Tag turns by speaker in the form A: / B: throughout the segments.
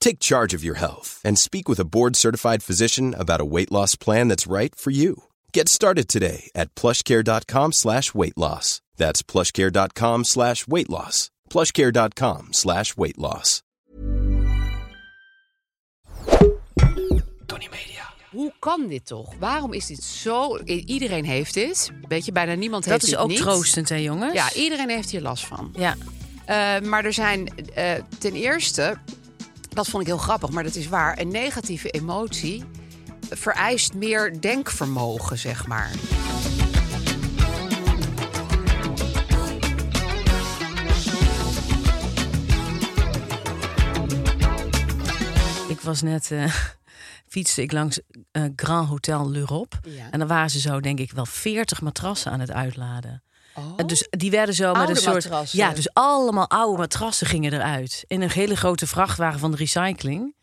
A: Take charge of your health and speak with a board-certified physician about a weight loss plan that's right for you. Get started today at plushcare.com slash weight loss. That's plushcare.com slash weight loss. plushcare.com slash weight loss.
B: Tony Media. Hoe kan dit toch? Waarom is dit zo? I- Iedereen heeft dit. Weet je, bijna niemand
C: Dat
B: heeft
C: is
B: dit
C: ook
B: niet.
C: troostend, hè, jongens?
B: Ja, iedereen heeft hier last van.
C: Ja.
B: Eh, maar er zijn eh, ten eerste, dat vond ik heel grappig, maar dat is waar, een negatieve emotie vereist meer denkvermogen, zeg maar.
C: Ik was net, eh fietste ik langs eh, Grand Hotel L'Europe.
B: Ja.
C: En dan waren ze zo, denk ik, wel 40 matrassen aan het uitladen.
B: Oh.
C: En Dus die werden zo met
B: Oude
C: een soort.
B: matrassen.
C: Ja, dus allemaal oude matrassen gingen eruit. In een hele grote vrachtwagen van de recycling.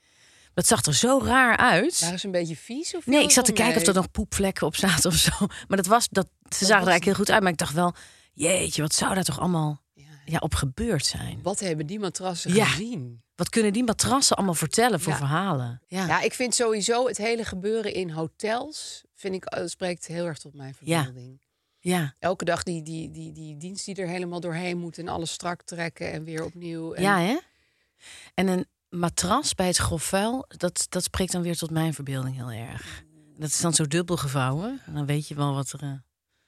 C: Dat zag er zo raar uit.
B: Waren ze een beetje vies? Of
C: Nee,
B: viel
C: ik zat te
B: het
C: kijken of
B: wel
C: er nog poepvlekken op zaten of zo. Maar dat was dat. Ze zagen er eigenlijk heel goed uit. Maar ik dacht wel, jeetje, wat zou daar toch allemaal
B: mee? Ja.
C: ja, op gebeurd zijn?
B: Wat hebben die matrassen
C: Ja.
B: gezien?
C: Wat kunnen die matrassen allemaal vertellen voor
B: Ja.
C: verhalen? Ja.
B: Ja, ik vind sowieso het hele gebeuren in hotels, vind ik, eh, spreekt heel erg tot mijn
C: Ja.
B: verbeelding.
C: ja.
B: elke dag die, die, die, die dienst die er helemaal doorheen moet en alles strak trekken en weer opnieuw. En
C: Ja, hè? En een matras bij het grof vuil, dat, dat spreekt dan weer tot mijn verbeelding heel erg. Dat is dan zo dubbel gevouwen. En dan weet je wel wat er... eh,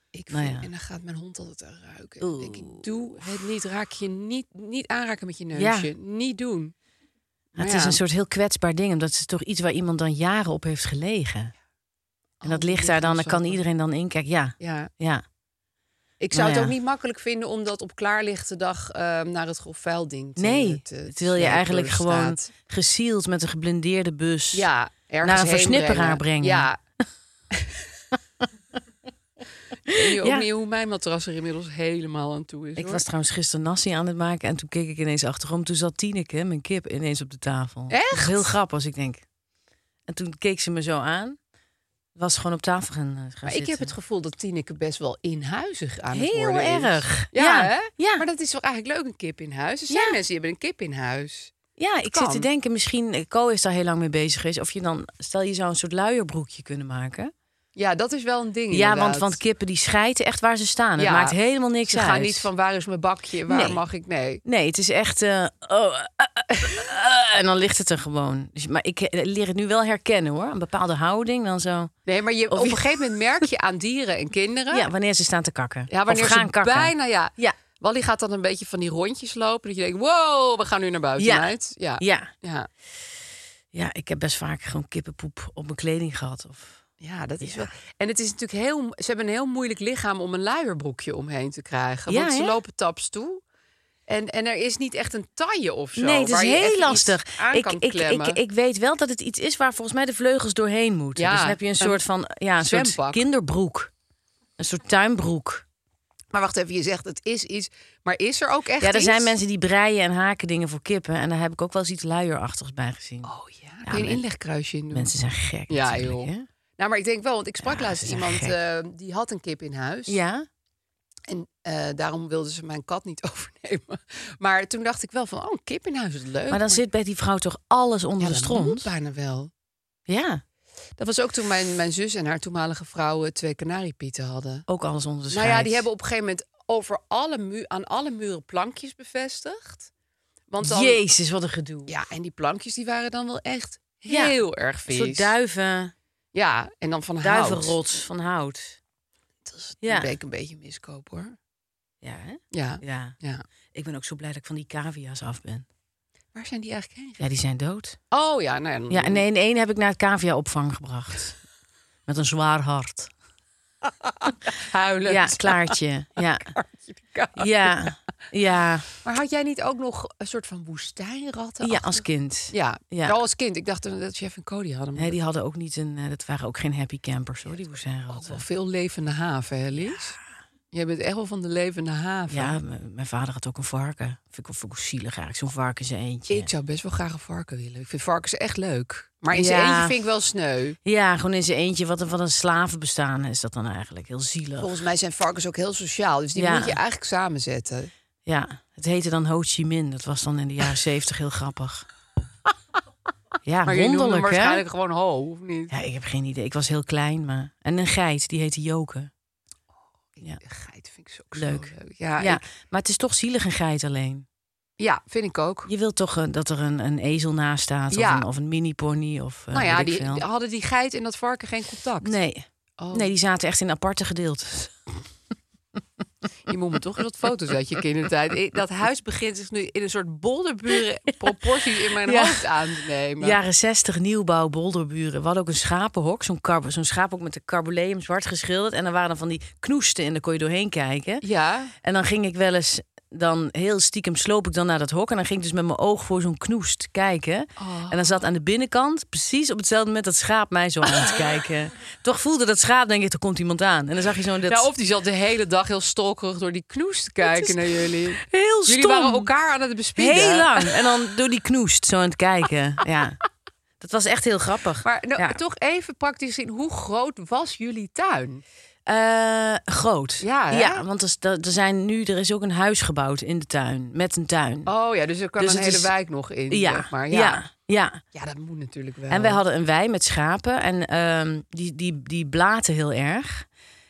B: Ik vind,
C: Nou ja.
B: En dan gaat mijn hond altijd aan ruiken. En dan denk
C: Oeh.
B: ik, doe het niet. Raak je niet, niet aanraken met je neusje. Niet doen. Maar
C: het
B: ja,
C: is een soort heel kwetsbaar ding. Omdat het is toch iets waar iemand dan jaren op heeft gelegen. En
B: al
C: dat
B: die
C: ligt daar dan, dan kan
B: lichaamszakken.
C: iedereen dan inkijken. Ja,
B: Ja,
C: ja.
B: ik zou
C: Nou
B: het
C: ja.
B: ook niet makkelijk vinden om dat op klaarlichte dag ehm, naar het grof vuilding te
C: Nee,
B: te-
C: het
B: te
C: wil je
B: slepen
C: eigenlijk
B: door de
C: gewoon
B: straat.
C: gesield met een geblindeerde bus.
B: ja, ergens
C: naar een
B: heen
C: versnipperaar brengen.
B: Ja. Ik weet ook
C: Ja.
B: niet hoe mijn matras er inmiddels helemaal aan toe is.
C: Ik
B: hoor.
C: was trouwens gisteren nasi aan het maken en toen keek ik ineens achterom. Toen zat Tineke, mijn kip, ineens op de tafel.
B: Echt?
C: Dat is heel grappig als ik denk. En toen keek ze me zo aan. Was gewoon op tafel gaan, eh, gaan
B: Maar ik
C: zitten.
B: heb het gevoel dat Tineke best wel inhuizig aan het
C: Heel
B: worden is.
C: erg.
B: Ja,
C: Ja,
B: hè?
C: ja.
B: Maar dat is wel eigenlijk leuk, een kip in huis. Er zijn
C: Ja.
B: mensen die hebben een kip in huis.
C: Ja, ik zit
B: kan.
C: te denken, misschien, eh, Co is daar heel lang mee bezig geweest. Of je dan, stel je zou een soort luierbroekje kunnen maken.
B: Ja, dat is wel een ding
C: Ja, want,
B: inderdaad.
C: want kippen die schijten echt waar ze staan.
B: Ja.
C: Het maakt helemaal niks
B: Ze
C: uit.
B: gaan niet van waar is mijn bakje, waar
C: Nee.
B: mag ik... Nee.
C: Nee, het is echt. eh, oh, eh, eh, eh, en dan ligt het er gewoon. Dus, maar ik eh, leer het nu wel herkennen hoor. Een bepaalde houding dan zo.
B: Nee, maar je,
C: Of
B: op een
C: je-
B: gegeven moment merk je aan dieren en kinderen...
C: Ja, wanneer ze staan te kakken.
B: ja, wanneer
C: of gaan
B: ze
C: kakken.
B: bijna... Ja.
C: Ja.
B: Wally gaat dan een beetje van die rondjes lopen. Dat je denkt, wow, we gaan nu naar buiten
C: Ja.
B: meid. Ja. ja.
C: Ja.
B: ja.
C: ja, ik heb best vaak gewoon kippenpoep op mijn kleding gehad. Of...
B: dat is
C: Ja.
B: wel. En het is natuurlijk heel. Ze hebben een heel moeilijk lichaam om een luierbroekje omheen te krijgen.
C: Ja,
B: want ze
C: hè?
B: lopen taps toe. En, en er is niet echt een taille of zo.
C: nee, het is
B: waar je even
C: heel
B: iets
C: lastig.
B: Aan
C: Ik,
B: kan
C: ik, ik,
B: klemmen.
C: ik weet wel dat het iets is waar volgens mij de vleugels doorheen moeten.
B: Ja,
C: dus dan heb je een
B: een
C: soort van ja, een soort
B: zwembak.
C: kinderbroek. Een soort tuinbroek.
B: Maar wacht even, je zegt het is iets. Maar is er ook echt
C: ja, er
B: iets?
C: zijn mensen die breien en haken dingen voor kippen. En daar heb ik ook wel eens iets luierachtigs bij gezien.
B: Oh ja, daar kun je een
C: men-
B: inlegkruisje in doen.
C: Mensen zijn gek.
B: Ja,
C: natuurlijk,
B: joh.
C: hè?
B: Nou, maar ik denk wel, want ik sprak
C: Ja,
B: laatst
C: ze zijn
B: iemand
C: gek.
B: eh, die had een kip in huis.
C: Ja.
B: En eh, daarom wilden ze mijn kat niet overnemen. Maar toen dacht ik wel van, oh, een kip in huis is leuk.
C: Maar dan zit bij die vrouw toch alles onder
B: ja,
C: de
B: dat moet
C: stront?
B: bijna wel.
C: Ja,
B: Dat was ook toen mijn, mijn zus en haar toenmalige vrouw eh, twee kanariepieten hadden.
C: ook alles onder de stront.
B: Nou ja, die hebben op een gegeven moment over alle mu aan alle muren plankjes bevestigd. Want dan,
C: Jezus, wat een gedoe.
B: Ja, en die plankjes die waren dan wel echt
C: Ja,
B: heel erg
C: Een
B: vies.
C: soort duiven.
B: Ja, en dan van hout.
C: Duivenrots van hout.
B: Dat is
C: Ja.
B: ben ik een beetje miskoop hoor.
C: Ja, hè?
B: Ja.
C: ja.
B: ja.
C: Ik ben ook zo blij dat ik van die cavia's af ben.
B: Waar zijn die eigenlijk heen
C: Ja, die zijn dood.
B: gegaan? Oh ja, nou ja. dan-
C: Ja, en één, één heb ik naar het cavia-opvang gebracht. Met een zwaar hart.
B: Huilend.
C: Ja, klaartje. Ja, ja, ja.
B: Maar had jij niet ook nog een soort van woestijnratten?
C: ja als kind.
B: Ja,
C: Ja.
B: ja. als kind. Ik dacht dat Jeff en Cody hadden. maar
C: Nee, die hadden ook niet een. eh, dat waren ook geen happy campers hoor, die
B: ook wel
C: woestijnratten.
B: veel levende haven, hè, Lies? Jij bent echt wel van de levende haven.
C: Ja, m- mijn vader had ook een varken. Vind ik wel vind ik wel zielig eigenlijk, zo'n varken zijn eentje.
B: Ik zou best wel graag een varken willen. Ik vind varkens echt leuk. Maar in zijn
C: Ja.
B: eentje vind ik wel sneu.
C: Ja, gewoon in zijn eentje. Wat een, wat een slavenbestaan is dat dan eigenlijk. Heel zielig.
B: Volgens mij zijn varkens ook heel sociaal. Dus die
C: Ja.
B: moet je eigenlijk samenzetten.
C: Ja, het heette dan Ho Chi Minh. Dat was dan in de jaren zeventig heel grappig. Ja,
B: Maar je noemt hem
C: wonderlijk hè?
B: waarschijnlijk gewoon ho, of niet?
C: Ja, ik heb geen idee. Ik was heel klein, maar... En een geit, die heette Joke. Ja.
B: De geit vind ik zo ook
C: Leuk.
B: Zo leuk. Ja,
C: ja,
B: ik-
C: maar het is toch zielig een geit alleen.
B: ja, vind ik ook.
C: Je wilt toch eh, dat er een, een ezel naast staat
B: Ja.
C: of een, of een mini-pony of eh,
B: nou ja,
C: weet ik
B: die,
C: veel.
B: die- hadden die geit en dat varken geen contact?
C: Nee.
B: Oh,
C: nee, die zaten echt in aparte gedeeltes.
B: Je moet me toch eens wat foto's uit je kindertijd. Ik- Dat huis begint zich nu in een soort bolderburen proporties in mijn
C: Ja.
B: hoofd aan te nemen.
C: Jaren 60, nieuwbouw, bolderburen. We hadden ook een schapenhok, zo'n kar- zo'n schapenhok met de carboleum zwart geschilderd. En dan waren er van die knoesten en daar kon je doorheen kijken.
B: Ja.
C: En dan ging ik wel eens dan heel stiekem sloop ik dan naar dat hok. En dan ging ik dus met mijn oog voor zo'n knoest kijken.
B: Oh.
C: En dan zat aan de binnenkant, precies op hetzelfde moment dat schaap mij zo aan het kijken. Toch voelde dat schaap, denk ik, er komt iemand aan. En dan zag je zo'n... Dat...
B: Nou, of die zat de hele dag heel stalkerig door die knoes te kijken naar jullie.
C: heel
B: Jullie
C: stom.
B: waren elkaar aan het bespieden.
C: Heel lang. En dan door die knoest zo aan het kijken. Ja. Dat was echt heel grappig.
B: Maar nou,
C: Ja.
B: toch even praktisch in, hoe groot was jullie tuin?
C: Eh, groot.
B: Ja, hè?
C: ja want er, is- er zijn nu, er is ook een huis gebouwd in de tuin. Met een tuin.
B: Oh ja, dus er kwam
C: Dus
B: een
C: het
B: hele
C: is-
B: wijk nog in,
C: ja.
B: zeg maar. Ja.
C: ja.
B: Ja.
C: ja.
B: dat moet natuurlijk wel.
C: En wij hadden een wei met schapen. En ehm, die, die, die blaten heel erg.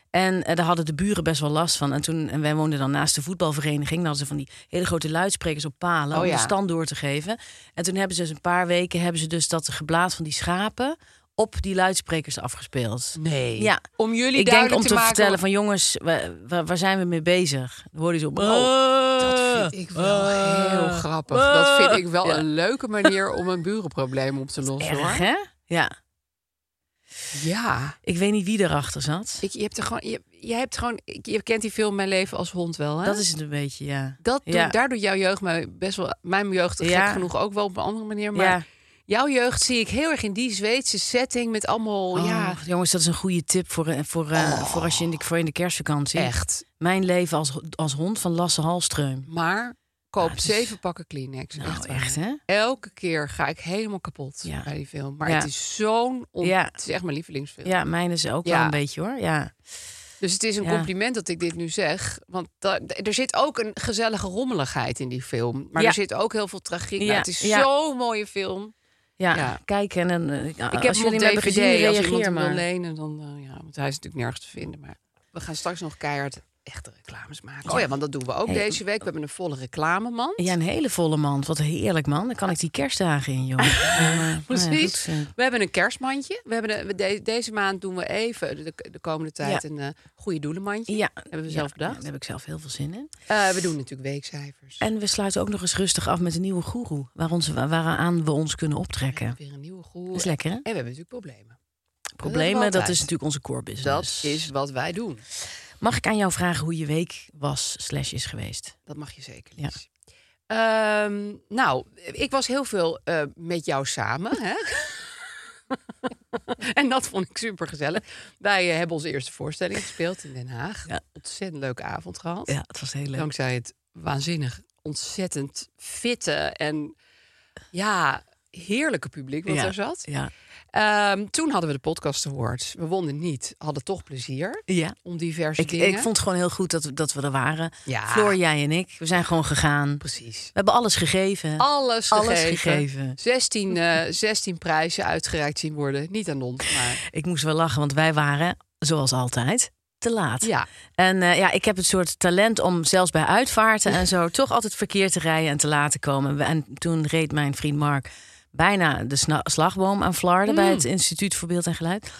C: En eh, daar hadden de buren best wel last van. En, toen, en wij woonden dan naast de voetbalvereniging. Dan hadden ze van die hele grote luidsprekers op palen.
B: Oh,
C: om
B: ja.
C: de stand door te geven. En toen hebben ze dus een paar weken... hebben ze dus dat geblaat van die schapen... op die luidsprekers afgespeeld.
B: Nee.
C: Ja.
B: Om jullie
C: Ik denk
B: duidelijk
C: om te,
B: te, maken...
C: vertellen van jongens, waar, waar, waar zijn we mee bezig? Dan hoorde je zo...
B: Oh, Dat
C: Eh.
B: vind ik wel heel grappig. Dat vind ik wel een leuke manier om een burenprobleem op te lossen,
C: Erg,
B: hoor.
C: hè? Ja.
B: Ja.
C: Ik weet niet wie erachter zat.
B: Ik, je hebt er gewoon, je, je hebt gewoon, ik- je kent die film Mijn leven als hond wel, hè?
C: Dat is het een beetje, ja.
B: dat doet-
C: ja.
B: daar doet jouw jeugd mij best wel, mijn jeugd gek
C: Ja.
B: genoeg ook wel op een andere manier. Maar
C: ja.
B: jouw jeugd zie ik heel erg in die Zweedse setting met allemaal,
C: Oh,
B: ja, Oh.
C: Jongens, dat is een goede tip voor, eh, voor, eh, voor als je in de, voor in de kerstvakantie.
B: echt.
C: Mijn leven als, als hond van Lasse Halstreum.
B: Maar koop
C: het is-
B: zeven pakken Kleenex.
C: dus- Nou,
B: echt,
C: echt,
B: waar.
C: hè?
B: Elke keer ga ik helemaal kapot
C: Ja.
B: bij die film. Maar
C: Ja.
B: het is zo'n, on-
C: Ja.
B: het is echt mijn lievelingsfilm.
C: Ja, mijn is ook
B: Ja.
C: wel een beetje, hoor. Ja.
B: Dus het is een
C: Ja.
B: compliment dat ik dit nu zeg. Want da- d- er zit ook een gezellige rommeligheid in die film. Maar
C: Ja.
B: er zit ook heel veel tragiek. Nou,
C: Ja,
B: het is
C: ja.
B: zo'n mooie film.
C: Ja,
B: Ja.
C: kijk en... dan,
B: Ik heb
C: eh, als jullie
B: hem op
C: hem hebben
B: DVD.
C: gezien,
B: als iemand
C: reageer
B: hem wil
C: maar.
B: lenen, dan... eh, ja, want hij is natuurlijk nergens te vinden. Maar we gaan straks nog keihard echte reclames maken. Oh ja, want dat doen we ook
C: Hey.
B: deze week. We hebben een volle reclamemand.
C: Ja, een hele volle mand. Wat heerlijk, man. Dan kan ik die kerstdagen in, joh. Dan, eh, nou ja,
B: Precies.
C: goed, eh,
B: We hebben een kerstmandje. We hebben de- we de- deze maand doen we even de, de komende tijd
C: Ja.
B: een eh, goede doelenmandje.
C: ja.
B: Hebben we zelf
C: Ja,
B: bedacht.
C: Daar heb ik zelf heel veel zin in.
B: Eh, we doen natuurlijk weekcijfers.
C: En we sluiten ook nog eens rustig af met een nieuwe goeroe. Waar ons, waaraan we ons kunnen optrekken.
B: Weer een nieuwe groep.
C: Dat is lekker, hè?
B: En we hebben natuurlijk problemen.
C: Problemen, dat
B: altijd.
C: is dus- natuurlijk onze core
B: Dat
C: business.
B: is wat wij doen.
C: Mag ik aan jou vragen hoe je week was slash is geweest?
B: Dat mag je zeker, Lies. Ehm, nou, ik was heel veel eh, met jou samen. Hè? en dat vond ik super gezellig. Wij eh, hebben onze eerste voorstelling gespeeld in Den Haag.
C: Ja.
B: Ontzettend leuke avond gehad.
C: Ja, het was heel leuk.
B: Dankzij het waanzinnig, ontzettend fitte en ja, heerlijke publiek wat
C: ja.
B: er zat.
C: Ja.
B: Ehm, toen hadden we de podcast awards. We wonnen niet, hadden toch plezier
C: ja.
B: om diverse
C: Ik,
B: dingen.
C: ik vond het gewoon heel goed dat, we- dat we er waren.
B: Ja.
C: Floor, jij en ik, we zijn gewoon gegaan. We
B: precies.
C: hebben alles gegeven.
B: Alles gegeven.
C: Alles gegeven.
B: 16, eh, 16 prijzen uitgereikt zien worden. Niet aan ons, maar
C: Ik moest wel lachen, want wij waren, zoals altijd, te laat.
B: ja.
C: En eh, ja, ik heb het soort talent om zelfs bij uitvaarten en zo toch altijd verkeerd te rijden en te laten komen. En toen reed mijn vriend Mark bijna de sna- slagboom aan flarden
B: Mm.
C: bij het Instituut voor Beeld en Geluid.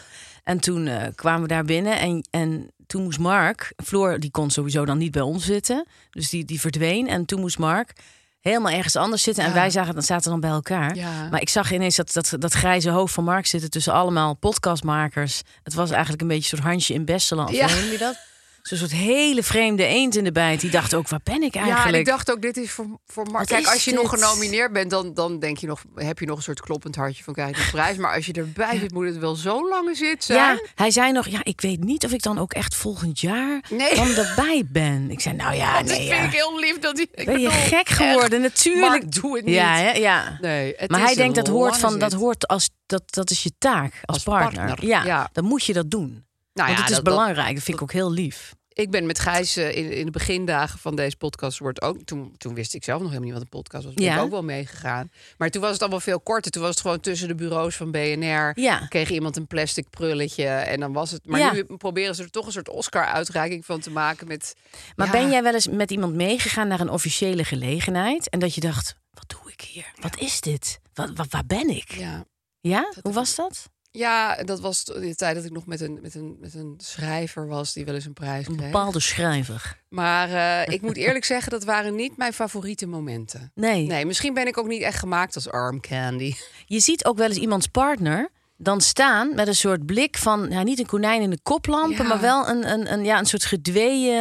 C: En toen eh, kwamen we daar binnen en, en toen moest Mark, Floor die kon sowieso dan niet bij ons zitten, dus die, die verdween. En toen moest Mark helemaal ergens anders zitten en wij zagen, dan zaten dan bij elkaar.
B: Ja.
C: Maar ik zag ineens dat, dat, dat grijze hoofd van Mark zitten tussen allemaal podcastmakers. Het was eigenlijk een beetje een soort handje in Besseland.
B: Ja.
C: Hoe noem je dat? Zo'n soort hele vreemde eend in de bijt. Die dacht ook, waar ben ik eigenlijk?
B: Ja, en ik dacht ook, dit is voor, voor Mark.
C: Wat
B: Kijk,
C: is
B: als je nog
C: dit?
B: genomineerd bent, dan, dan denk je nog, heb je nog een soort kloppend hartje van kijk, de prijs. Maar als je erbij zit, moet het wel zo'n lange zit zijn.
C: Ja, hij zei nog, ja, ik weet niet of ik dan ook echt volgend jaar
B: Nee.
C: dan erbij ben. Ik zei, nou ja,
B: Want dat
C: nee,
B: vind
C: ja.
B: ik heel lief. Dat die, ik
C: ben je
B: bedoel,
C: gek
B: echt,
C: geworden? Natuurlijk.
B: Mark, doe het niet.
C: Ja, hè, ja.
B: Nee, het
C: maar
B: is
C: hij
B: een
C: denkt dat hoort
B: lange
C: van, dat
B: zit.
C: hoort als dat, dat is je taak als,
B: Als
C: partner.
B: partner,
C: Ja,
B: ja.
C: dan moet je dat doen.
B: Nou
C: Want
B: ja,
C: het is
B: dat- dat-
C: belangrijk. Dat vind ik ook heel lief.
B: Ik ben met Gijs eh, in, in de begindagen van deze podcast wordt ook. Toen, toen wist ik zelf nog helemaal niet wat een podcast was. Ben
C: Ja.
B: ik ook wel meegegaan. Maar toen was het allemaal veel korter. Toen was het gewoon tussen de bureaus van BNR.
C: Ja.
B: Kreeg iemand een plastic prulletje en dan was het. Maar
C: Ja.
B: nu proberen ze er toch een soort Oscar-uitreiking van te maken met.
C: Maar
B: Ja.
C: ben jij wel eens met iemand meegegaan naar een officiële gelegenheid en dat je dacht, wat doe ik hier? Wat is dit? Wat, wat, waar ben ik? Ja,
B: Ja.
C: hoe was dat?
B: ja, dat was in de tijd dat ik nog met een, met, een, met een schrijver was die wel eens een prijs
C: Een
B: kreeg.
C: bepaalde schrijver.
B: Maar eh, ik moet eerlijk zeggen, dat waren niet mijn favoriete momenten.
C: Nee.
B: Nee, misschien ben ik ook niet echt gemaakt als arm candy.
C: Je ziet ook wel eens iemands partner dan staan met een soort blik van, ja, niet een konijn in de koplampen,
B: Ja.
C: maar wel een, een, een, ja, een soort gedweeën.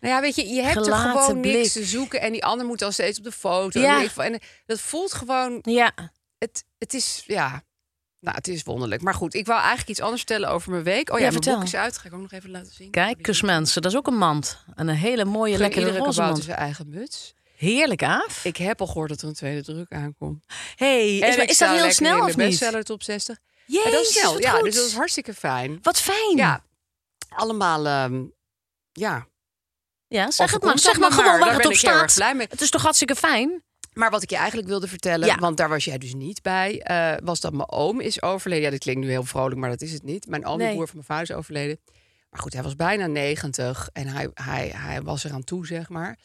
B: Nou ja, weet je, je hebt er
C: Gelaten
B: gewoon niks
C: blik.
B: te zoeken. En die ander moet dan steeds op de foto.
C: Ja.
B: En, weet ik veel. en eh, dat voelt gewoon...
C: Ja,
B: Het, het is, ja... Nou, het is wonderlijk. Maar goed, ik wou eigenlijk iets anders vertellen over mijn week. Oh ja,
C: Ja,
B: mijn
C: vertel.
B: boek is uit. Ga ik ook nog even laten zien.
C: kijk, kusmensen, dat is ook een mand. En een hele mooie,
B: Lekker
C: lekkere
B: iedere
C: roze
B: kabouter
C: mand.
B: zijn eigen muts.
C: Heerlijk, af.
B: Ik heb al gehoord dat er een tweede druk aankomt.
C: hey,
B: En
C: is,
B: ik
C: is
B: sta
C: dat heel
B: lekker in
C: snel
B: de
C: of niet?
B: bestseller top 60.
C: Jezus,
B: en dat is snel.
C: wat
B: Ja,
C: goed.
B: dus dat is hartstikke fijn.
C: Wat fijn.
B: Ja, allemaal... ehm, ja,
C: Ja, zeg het maar.
B: overkomt
C: Zeg
B: dat
C: maar
B: maar.
C: gewoon
B: Daar
C: waar het
B: ben
C: op
B: ik heel erg
C: staat.
B: blij mee.
C: Het is toch hartstikke fijn?
B: Maar wat ik je eigenlijk wilde vertellen,
C: Ja.
B: want daar was jij dus niet bij, eh, was dat mijn oom is overleden. Ja, dit klinkt nu heel vrolijk, maar dat is het niet. Mijn oom, de
C: Nee.
B: broer van mijn vader, is overleden. Maar goed, hij was bijna 90 en hij, hij, hij was eraan toe, zeg maar.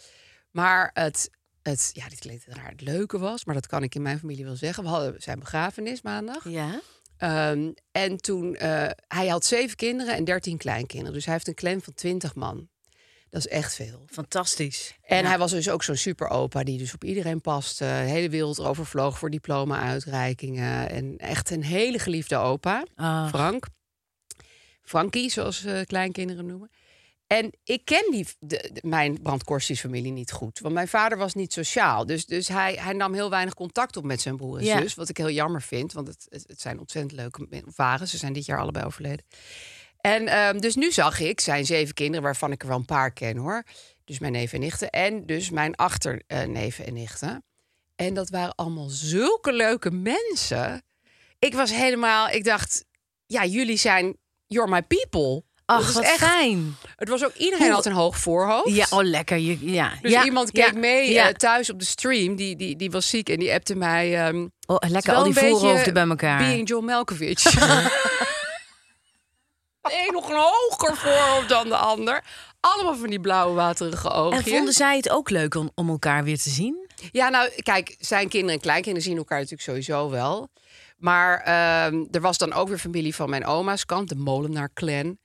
B: Maar het, het, ja, dit klinkt raar, het leuke was, maar dat kan ik in mijn familie wel zeggen. We hadden zijn begrafenis maandag.
C: Ja.
B: Ehm, en toen, eh, hij had zeven kinderen en dertien kleinkinderen. Dus hij heeft een claim van 20 man. Dat is echt veel.
C: Fantastisch.
B: En hij was dus ook zo'n superopa die dus op iedereen paste. De hele wereld overvloog voor diploma-uitreikingen. En echt een hele geliefde opa,
C: Ah.
B: Frank. Frankie, zoals eh, kleinkinderen noemen. En ik ken die, de, de- mijn brandkorstiesfamilie niet goed. Want mijn vader was niet sociaal. Dus, dus hij, hij nam heel weinig contact op met zijn broer en
C: Ja.
B: zus. Wat ik heel jammer vind. Want het, het, het zijn ontzettend leuke men- waren. Ze zijn dit jaar allebei overleden. En ehm, dus nu zag ik zijn zeven kinderen, waarvan ik er wel een paar ken hoor. Dus mijn neven en nichten. En dus mijn achterneven en nichten. En dat waren allemaal zulke leuke mensen. Ik was helemaal, ik dacht, ja, jullie zijn, you're my people. Dat
C: Ach,
B: is
C: wat
B: echt-
C: fijn.
B: Het was ook, iedereen
C: Hoe-
B: had een hoog voorhoofd.
C: Ja, oh lekker. Je, ja.
B: Dus
C: ja.
B: iemand
C: ja.
B: keek mee eh,
C: Ja.
B: thuis op de stream. Die, die, die was ziek en die appte mij. ehm, het
C: Oh,
B: is
C: lekker
B: wel
C: al die
B: een beetje
C: voorhoofden bij elkaar.
B: Being John Malkovich. Eén nog een hoger voorhoofd dan de ander. Allemaal van die blauwe waterige
C: En
B: oogjes.
C: vonden zij het ook leuk om, om elkaar weer te zien?
B: Ja, nou, kijk, zijn kinderen en kleinkinderen zien elkaar natuurlijk sowieso wel. Maar ehm, er was dan ook weer familie van mijn oma's kant, de Molenaar-clan.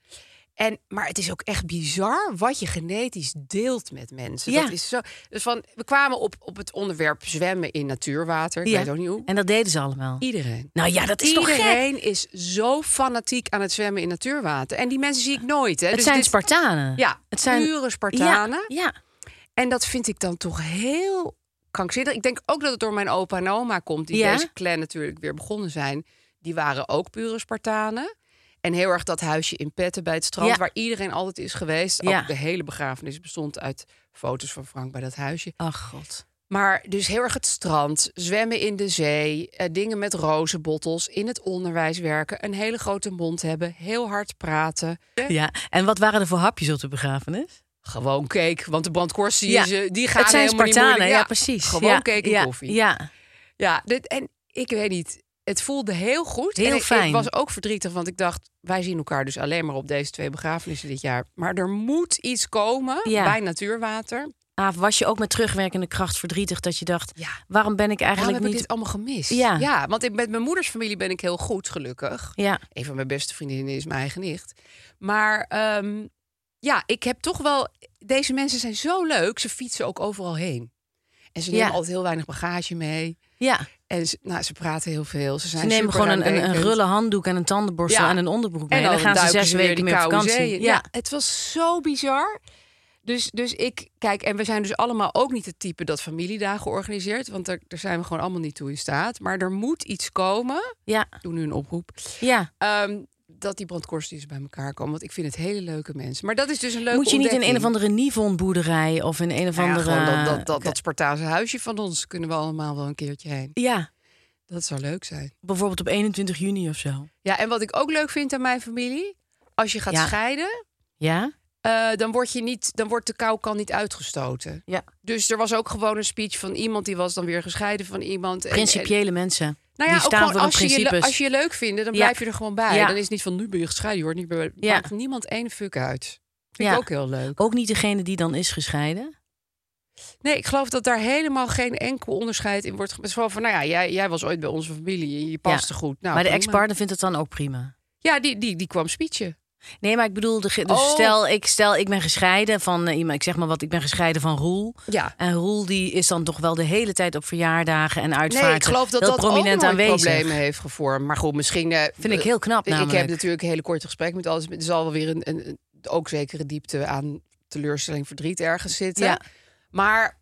B: En, maar het is ook echt bizar wat je genetisch deelt met mensen.
C: Ja.
B: Dat is zo. Dus van, we kwamen op, op het onderwerp zwemmen in natuurwater. Ik weet ook niet hoe.
C: En dat deden ze allemaal.
B: Iedereen.
C: Nou ja, dat is toch gek?
B: Iedereen is zo fanatiek aan het zwemmen in natuurwater. En die mensen zie ik nooit. Hè?
C: Het
B: Dus
C: zijn
B: dit-
C: Spartanen.
B: Ja,
C: het zijn
B: pure Spartanen.
C: Ja, ja.
B: En dat vind ik dan toch heel krankzinnig. Ik denk ook dat het door mijn opa en oma komt, die
C: Ja.
B: deze clan natuurlijk weer begonnen zijn. Die waren ook pure Spartanen. En heel erg dat huisje in Petten bij het strand,
C: Ja.
B: waar iedereen altijd is geweest.
C: Ja.
B: Ook de hele begrafenis bestond uit foto's van Frank bij dat huisje.
C: Ach god.
B: Maar dus heel erg het strand, zwemmen in de zee, eh, dingen met rozenbottels, in het onderwijs werken, een hele grote mond hebben, heel hard praten.
C: Ja. En wat waren er voor hapjes op de begrafenis?
B: Gewoon cake, want de brandkorst die,
C: Ja.
B: ze, die gaan
C: het zijn
B: helemaal
C: Spartanen,
B: niet moeilijk.
C: ja, precies.
B: Gewoon
C: ja.
B: cake en
C: ja.
B: koffie.
C: Ja.
B: Ja, dit, en ik weet niet. Het voelde heel goed.
C: Heel
B: en ik,
C: fijn.
B: Ik was ook verdrietig, want ik dacht... wij zien elkaar dus alleen maar op deze twee begrafenissen dit jaar. Maar er moet iets komen
C: Ja.
B: bij Natuurwater.
C: Ah, was je ook met terugwerkende kracht verdrietig dat je dacht,
B: Ja.
C: waarom ben ik
B: Waarom
C: eigenlijk
B: heb ik dit
C: niet...
B: allemaal gemist?
C: Ja.
B: want ik- met mijn moeders familie ben ik heel goed, gelukkig.
C: Ja,
B: Een van mijn beste vriendinnen is mijn eigen nicht. Maar ehm, ja, ik heb toch wel... Deze mensen zijn zo leuk. Ze fietsen ook overal heen. En ze nemen
C: Ja.
B: altijd heel weinig bagage mee.
C: ja.
B: En ze, nou, ze praten heel veel. Ze, zijn
C: ze nemen gewoon een, een, een
B: supernadenkend.
C: rulle handdoek en een tandenborstel
B: Ja.
C: en een onderbroek mee. En
B: En
C: dan, gaan ze
B: duiken
C: zes
B: weer
C: weken
B: die
C: meer op
B: koude
C: vakantie.
B: zeeën.
C: Ja.
B: Ja. het was zo bizar. Dus, dus ik, kijk, en we zijn dus allemaal ook niet het type dat familiedagen organiseert. Want daar, daar zijn we gewoon allemaal niet toe in staat. Maar er moet iets komen.
C: ja,
B: Ik doe nu een oproep.
C: ja.
B: Ehm, dat die brandkorstjes bij elkaar komen. Want ik vind het hele leuke mensen. Maar dat is dus een leuke
C: Moet je niet in een
B: ontdekking.
C: of andere Ah, Nivon boerderij of in een of
B: Nou ja,
C: andere...
B: gewoon dat, dat, dat, dat Spartaanse huisje van ons kunnen we allemaal wel een keertje heen.
C: Ja,
B: Dat zou leuk zijn.
C: bijvoorbeeld op 21 juni of zo.
B: Ja, en wat ik ook leuk vind aan mijn familie. Als je gaat
C: Ja.
B: scheiden,
C: Ja?
B: Eh, dan, word je niet, dan wordt de kou kan niet uitgestoten.
C: Ja.
B: Dus er was ook gewoon een speech van iemand die was dan weer gescheiden van iemand. En- en-
C: Principiële mensen.
B: nou ja,
C: die
B: ook
C: staan
B: gewoon
C: voor hun
B: als, je je, le-
C: principes.
B: als je je leuk vindt, dan
C: Ja.
B: blijf je er gewoon bij.
C: Ja.
B: Dan is het niet van nu ben je gescheiden, hoor. Niet meer,
C: Ja.
B: Maakt niemand één fuck uit. Vind
C: Ja.
B: ik ook heel leuk.
C: Ook niet degene die dan is gescheiden.
B: Nou, Nee, ik geloof dat daar helemaal geen enkel onderscheid in wordt. ge- Het is gewoon van, nou ja, jij, jij was ooit bij onze familie. Je paste goed. Nou,
C: maar de
B: prima.
C: ex-partner vindt het dan ook prima.
B: Ja, die, die, die kwam speechen.
C: Nee, maar ik bedoel, de ge- dus
B: Oh.
C: stel, ik, stel ik ben gescheiden van eh, iemand, ik zeg maar wat, ik ben gescheiden van Roel.
B: Ja.
C: En Roel die is dan toch wel de hele tijd op verjaardagen en uitvaarten.
B: Nee, ik geloof dat
C: heel
B: dat ook
C: prominent
B: nooit
C: aanwezig.
B: problemen heeft gevormd. Maar goed, misschien... eh,
C: Vind ik heel knap
B: Ik
C: namelijk.
B: heb natuurlijk een hele korte gesprek met alles. Er zal wel weer een, een, een- ook zekere diepte aan teleurstelling, verdriet ergens zitten.
C: Ja.
B: Maar,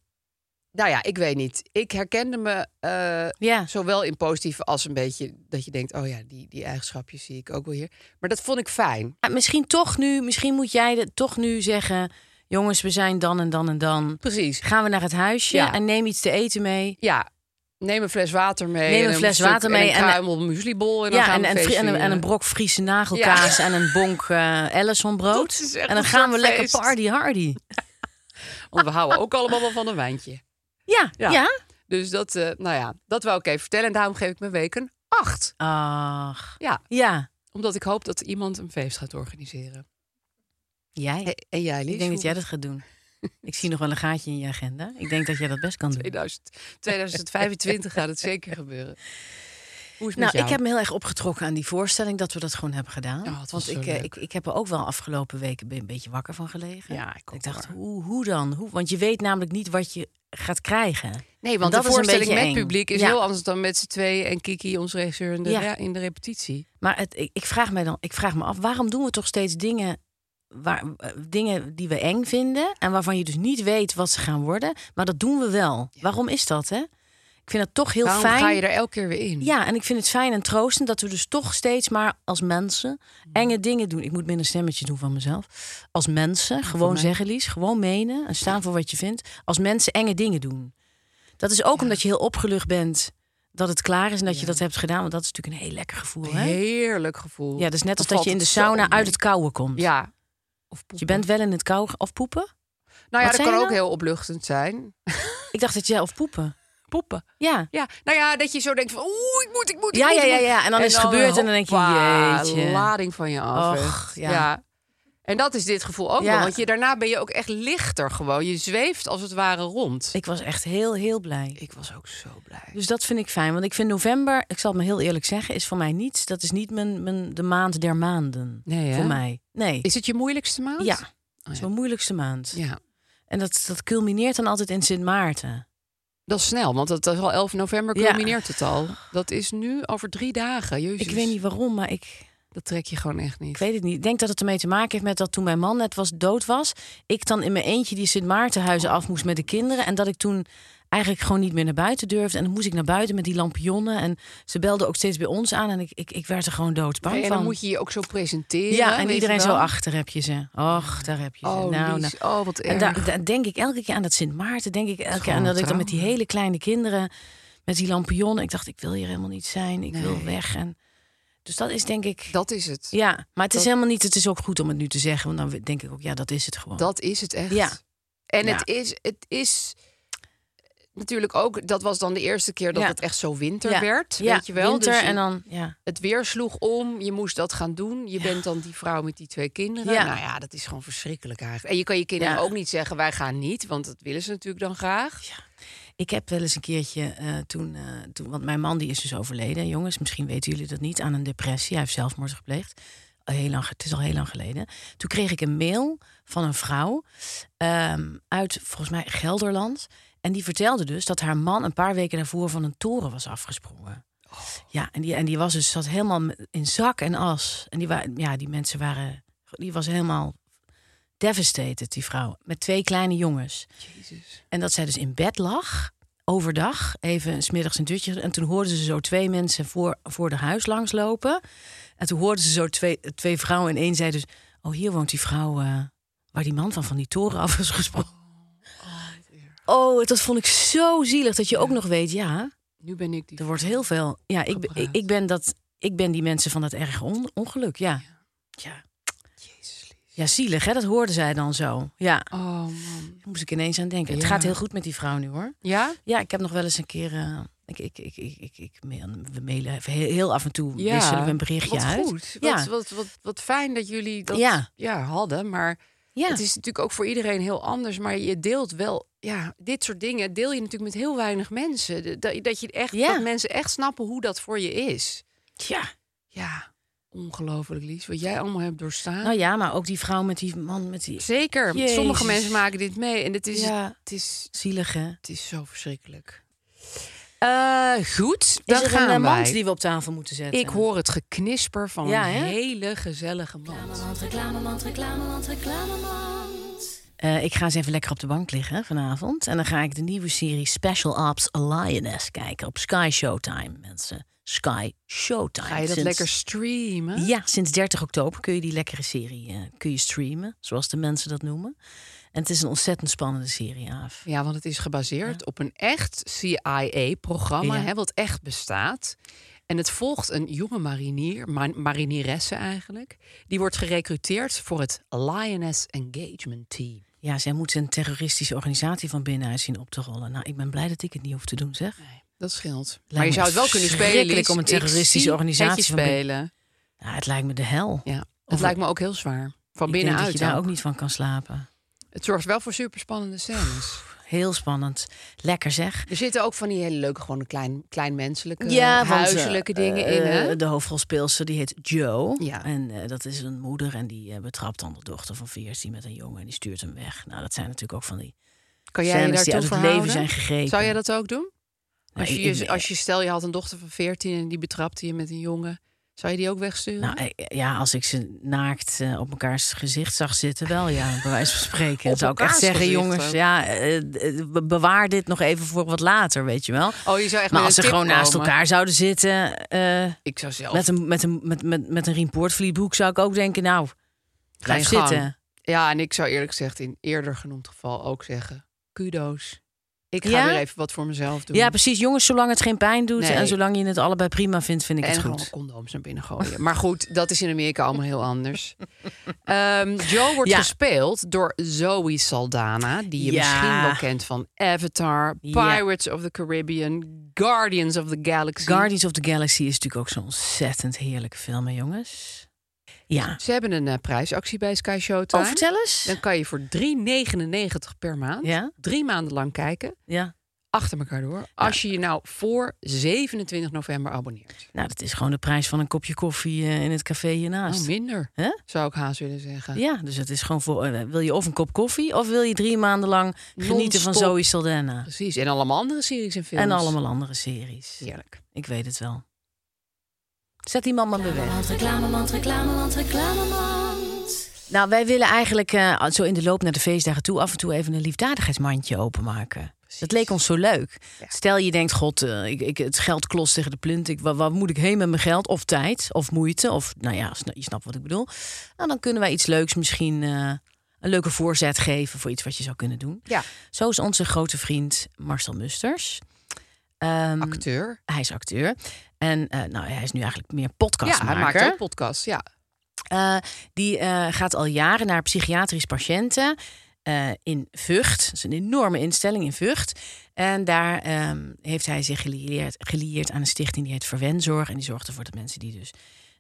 B: nou ja, ik weet niet. Ik herkende me eh,
C: Ja,
B: zowel in positieve als een beetje... dat je denkt, oh ja, die, die eigenschapjes zie ik ook wel hier. Maar dat vond ik fijn.
C: Maar Ah, misschien toch nu, misschien moet jij het toch nu zeggen, jongens, we zijn dan en dan en dan.
B: Precies.
C: Gaan we naar het huisje
B: Ja.
C: en neem iets te eten mee.
B: Ja, neem een fles water mee.
C: Neem een
B: en
C: fles
B: stuk-
C: water mee
B: En
C: en-
B: een kruimel mueslibol. En dan
C: ja,
B: gaan
C: en,
B: we
C: en, fri- en, een,
B: feestvieren.
C: en een brok Friese nagelkaas en een bonk eh
B: Dat
C: Ellisonbrood.
B: is echt
C: En dan
B: een
C: gaan we
B: soort
C: lekker
B: feest.
C: party hardy.
B: Want we houden ook allemaal wel van een wijntje.
C: Ja, ja.
B: Ja. Dus dat, eh, nou ja, dat wou ik even vertellen. En daarom geef ik mijn week een 8.
C: Ach,
B: Ja,
C: ja.
B: omdat ik hoop dat iemand een feest gaat organiseren.
C: Jij.
B: En, en jij, Lies?
C: Ik denk dat jij
B: hoe-
C: dat gaat doen. Ik zie nog wel een gaatje in je agenda. Ik denk dat jij dat best kan doen.
B: 2000, 2025 gaat het zeker gebeuren. Hoe is het met
C: Nou,
B: jou?
C: ik heb me heel erg opgetrokken aan die voorstelling dat we dat gewoon hebben gedaan.
B: Ja, het was
C: Want
B: zo
C: ik, eh,
B: leuk.
C: ik, ik heb er ook wel afgelopen weken een beetje wakker van gelegen.
B: Ja, ik ook
C: dacht,
B: hoor.
C: hoe, hoe dan? Hoe? Want je weet namelijk niet wat je gaat krijgen.
B: Nee,
C: en
B: want
C: dat
B: de
C: is een
B: voorstelling
C: beetje
B: met
C: eng.
B: publiek is
C: Ja.
B: heel anders dan met z'n tweeën... en Kiki, onze regisseur, in de,
C: Ja.
B: ja, in de repetitie.
C: Maar het, ik, ik vraag mij dan, ik vraag me af, waarom doen we toch steeds dingen, waar, eh, dingen die we eng vinden en waarvan je dus niet weet wat ze gaan worden, maar dat doen we wel. Waarom is dat, hè? Ik vind dat toch heel
B: Waarom
C: fijn.
B: ga je er elke keer weer in?
C: Ja, en ik vind het fijn en troostend dat we dus toch steeds maar als mensen
B: Mm.
C: enge dingen doen. Ik moet minder stemmetje doen van mezelf. Als mensen, gewoon
B: mij.
C: zeggen, Lies, gewoon menen en staan voor wat je vindt. Als mensen enge dingen doen. Dat is ook omdat je heel opgelucht bent dat het klaar is en dat je dat hebt gedaan. Want dat is natuurlijk een heel lekker gevoel. Hè?
B: Heerlijk gevoel.
C: Ja, dat is net als
B: Dan
C: dat je in
B: valt
C: de
B: het zo
C: sauna
B: mee.
C: uit het kouwen komt.
B: Ja. Of
C: Dus je bent wel in het kou of poepen?
B: Nou ja,
C: Wat
B: dat
C: zei
B: kan
C: je
B: ook heel opluchtend zijn.
C: Ik dacht dat jij of poepen.
B: Poepen.
C: Ja.
B: Ja, nou ja, dat je zo denkt van, oeh, ik moet, ik moet, ik
C: Ja,
B: moet,
C: ja,
B: ik
C: ja,
B: moet. eh,
C: ja. En dan is het gebeurd en dan denk je,
B: hoppa,
C: jeetje.
B: lading van je af.
C: Och,
B: echt.
C: ja.
B: En dat is dit gevoel ook
C: Ja.
B: wel, want je, daarna ben je ook echt lichter gewoon. Je zweeft als het ware rond.
C: Ik was echt heel, heel blij.
B: Ik was ook zo blij.
C: Dus dat vind ik fijn. Want ik vind november, ik zal het me heel eerlijk zeggen, is voor mij niets. Dat is niet mijn, mijn, de maand der maanden.
B: Nee, hè?
C: Voor mij. Nee.
B: Is het je moeilijkste maand? Oh
C: Ja. Dat is mijn moeilijkste maand.
B: ja.
C: En dat, dat culmineert dan altijd in Sint Maarten.
B: Dat is snel, want dat is al 11 november
C: Ja.
B: culmineert het al. Dat is nu over drie dagen. Jezus.
C: Ik weet niet waarom, maar ik,
B: Dat trek je gewoon echt niet.
C: ik weet het niet. Ik denk dat het ermee te maken heeft met dat toen mijn man net was, dood was. Ik dan in mijn eentje die Sint Maartenhuizen af moest met de kinderen. En dat ik toen eigenlijk gewoon niet meer naar buiten durfde. En dan moest ik naar buiten met die lampionnen. En ze belden ook steeds bij ons aan. En ik, ik, ik werd er gewoon doodsbang
B: Nee, en
C: van.
B: dan moet je je ook zo presenteren.
C: Ja,
B: weet
C: en
B: je
C: iedereen zo
B: wel.
C: achter heb je ze. Och, daar heb je ze.
B: Oh,
C: nou,
B: Lies,
C: nou.
B: oh, wat
C: En
B: erg.
C: daar, daar denk ik elke keer aan dat Sint Maarten. Denk ik elke keer aan
B: gewoon
C: dat ik dan met die
B: trauma.
C: hele kleine kinderen, met die lampionnen. Ik dacht, ik wil hier helemaal niet zijn. Ik wil weg. En, dus dat is denk ik.
B: Dat is het.
C: ja, maar het is
B: dat-
C: helemaal niet. Het is ook goed om het nu te zeggen. Want dan denk ik ook, Oh. ja, dat is het gewoon.
B: Dat is het echt.
C: Ja.
B: En
C: Ja.
B: het is, het is natuurlijk ook, dat was dan de eerste keer dat
C: Ja.
B: het echt zo winter
C: Ja.
B: werd.
C: Ja,
B: weet je wel?
C: Winter
B: Dus je-
C: en dan, ja.
B: Het weer sloeg om, je moest dat gaan doen. Je bent dan die vrouw met die twee kinderen.
C: Ja.
B: Nou ja, dat is gewoon verschrikkelijk eigenlijk. En je kan je kinderen
C: Ja.
B: ook niet zeggen, wij gaan niet. Want dat willen ze natuurlijk dan graag.
C: Ik heb wel eens een keertje eh, toen, eh, toen, want mijn man die is dus overleden, jongens, misschien weten jullie dat niet, aan een depressie. Hij heeft zelfmoord gepleegd. Al heel lang, het is al heel lang geleden. Toen kreeg ik een mail van een vrouw ehm, uit volgens mij Gelderland. En die vertelde dus dat haar man een paar weken daarvoor van een toren was afgesprongen. Ja, en die, en die was dus, zat helemaal in zak en as. En die, wa- ja, die mensen waren, die was helemaal devastated, die vrouw. Met twee kleine jongens. En dat zij dus in bed lag, overdag, even 's middags een dutje. En toen hoorden ze zo twee mensen voor, voor de huis langslopen. En toen hoorden ze zo twee, twee vrouwen. En één zei dus, oh, hier woont die vrouw eh, waar die man van van die toren af is gesprongen. Oh, dat vond ik zo zielig dat je ook nog weet, ja,
B: Nu ben ik die...
C: er wordt heel veel. Ja, ik, ben- ik,
B: Gepraat.
C: ik ben dat, ik ben die mensen van dat erg on- ongeluk, ja. Ja.
B: Jezus, lief.
C: ja, zielig, hè? dat hoorden zij dan zo. Ja, daar
B: Oh man.
C: moest ik ineens aan denken. Het
B: Ja.
C: gaat heel goed met die vrouw nu hoor.
B: Ja?
C: Ja, ik heb nog wel eens een keer. eh, ik, ik, ik, ik, ik, ik mail- we mailen even heel, heel af en toe.
B: Ja.
C: wisselen we een berichtje
B: Wat
C: uit.
B: goed.
C: Ja.
B: Wat, wat, wat, wat fijn dat jullie dat ja.
C: Ja.
B: hadden. Maar
C: ja.
B: het is natuurlijk ook voor iedereen heel anders. Maar je deelt wel... Ja, dit soort dingen deel je natuurlijk met heel weinig mensen. De- Dat, dat, je echt,
C: Ja.
B: dat mensen echt snappen hoe dat voor je is.
C: ja.
B: Ja, ongelooflijk, Lies. Wat jij allemaal hebt doorstaan.
C: Nou ja, maar ook die vrouw met die man met die
B: Zeker. want
C: Jezus.
B: Sommige mensen maken dit mee. En het is,
C: Ja.
B: het is,
C: zielige.
B: het is zo verschrikkelijk. Eh, goed, dan
C: is er
B: gaan
C: een eh, mand
B: wij.
C: die we op tafel moeten zetten.
B: Ik hoor het geknisper van
C: Ja,
B: een
C: hè?
B: hele gezellige mand.
C: Eh, ik ga eens even lekker op de bank liggen vanavond. En dan ga ik de nieuwe serie Special Ops Lioness kijken op Sky Showtime, mensen. Sky Showtime.
B: Ga je dat
C: Sinds-
B: lekker streamen?
C: Ja, sinds 30 oktober kun je die lekkere serie eh, kun je streamen, zoals de mensen dat noemen. En het is een ontzettend spannende serie, af.
B: Ja, want het is gebaseerd op een echt CIA-programma,
C: Ja.
B: hè, wat echt bestaat. En het volgt een jonge marinier, ma- marinieresse eigenlijk. Die wordt gerecruiteerd voor het Lioness Engagement Team.
C: Ja, zij moeten een terroristische organisatie van binnenuit zien op te rollen. Nou, ik ben blij dat ik het niet hoef te doen, zeg.
B: Dat scheelt. maar
C: me
B: je zou het wel kunnen spelen.
C: verschrikkelijk
B: Lies.
C: om een
B: Ik
C: terroristische
B: zie
C: organisatie
B: het je
C: van binnen-
B: spelen.
C: Ja, het lijkt me de hel.
B: Ja, het
C: Of-
B: lijkt me ook heel zwaar. Van
C: ik denk dat
B: binnenuit.
C: je daar
B: ook.
C: ook niet van kan slapen.
B: Het zorgt wel voor superspannende scènes.
C: Heel spannend. Lekker zeg.
B: Er zitten ook van die hele leuke, gewoon klein, klein menselijke,
C: want, eh,
B: huiselijke dingen in.
C: eh,
B: Hè?
C: De hoofdrolspeelster die heet Joe.
B: Ja.
C: En eh, dat is een moeder en die eh, betrapt dan de dochter van 14 met een jongen en die stuurt hem weg. Nou, dat zijn natuurlijk ook van die
B: kan jij je
C: scènes
B: daartoe
C: die uit het
B: verhouden?
C: leven zijn gegrepen.
B: Zou jij dat ook doen?
C: Nou,
B: Als je,
C: ik- ik-
B: je- als je stel, je had een dochter van 14 en die betrapte je met een jongen. Zou je die ook wegsturen?
C: Nou, eh, ja, als ik ze naakt eh, op elkaars gezicht zag zitten, wel ja, bij wijze van spreken.
B: Op
C: zou ik echt
B: elkaars
C: zeggen,
B: gezicht
C: jongens,
B: ook.
C: ja, eh, eh, be- bewaar dit nog even voor wat later, weet je wel.
B: oh, je zou echt met
C: maar als ze
B: een tip
C: gewoon naast
B: komen.
C: elkaar zouden zitten, eh,
B: Ik zou zelf...
C: met een, met een, met, met, met een riempoortvlietboek, zou ik ook denken, nou, blijf
B: je gang.
C: zitten.
B: Ja, en ik zou eerlijk gezegd in eerder genoemd geval ook zeggen... kudo's. Ik ga
C: Ja?
B: weer even wat voor mezelf doen.
C: Ja, precies, jongens, zolang het geen pijn doet
B: Nee.
C: en zolang je het allebei prima vindt, vind ik
B: en
C: het
B: gewoon
C: goed.
B: condooms naar binnen gooien. Maar goed, dat is in Amerika allemaal heel anders. Ehm, Joe wordt
C: Ja.
B: gespeeld door Zoe Saldana, die je
C: Ja.
B: misschien wel kent van Avatar,
C: Ja.
B: Pirates of the Caribbean, Guardians of the Galaxy.
C: Guardians of the Galaxy is natuurlijk ook zo'n ontzettend heerlijke film, hè, jongens. Ja.
B: Ze hebben een eh, prijsactie bij Sky Showtime.
C: Oh, vertel eens.
B: Dan kan je voor 3,99 per maand
C: Ja.
B: drie maanden lang kijken.
C: Ja.
B: Achter elkaar door. Als je je nou voor 27 november abonneert.
C: Nou, dat is gewoon de prijs van een kopje koffie eh, in het café hiernaast.
B: Nou, minder,
C: Hè?
B: zou ik haast willen zeggen.
C: Ja, dus het is gewoon voor. eh, wil je of een kop koffie of wil je drie maanden lang genieten van
B: Non-stop.
C: Zoe Saldana?
B: Precies. En allemaal andere series en films.
C: En allemaal andere series.
B: Heerlijk.
C: Ik weet het wel. Zet die man maar weer weg. Nou, wij willen eigenlijk eh, zo in de loop naar de feestdagen toe af en toe even een liefdadigheidsmandje openmaken. Dat leek ons zo leuk. Stel je denkt, god, eh, ik, ik, het geld klost tegen de plint. Ik, waar, waar moet ik heen met mijn geld? Of tijd, of moeite, of nou ja, sna- je snapt wat ik bedoel. Nou, dan kunnen wij iets leuks misschien, eh, een leuke voorzet geven voor iets wat je zou kunnen doen.
B: Ja.
C: Zo is onze grote vriend Marcel Musters. Ehm,
B: Acteur.
C: hij is acteur. En eh, nou, hij is nu eigenlijk meer
B: Ja,
C: podcastmaker.
B: hij maakt ook podcasts. Ja.
C: Eh, die eh, gaat al jaren naar psychiatrisch patiënten. eh, in Vught. Dat is een enorme instelling in Vught. En daar ehm, heeft hij zich gelieerd, gelieerd aan een stichting die heet Verwenzorg. En die zorgt ervoor dat mensen die dus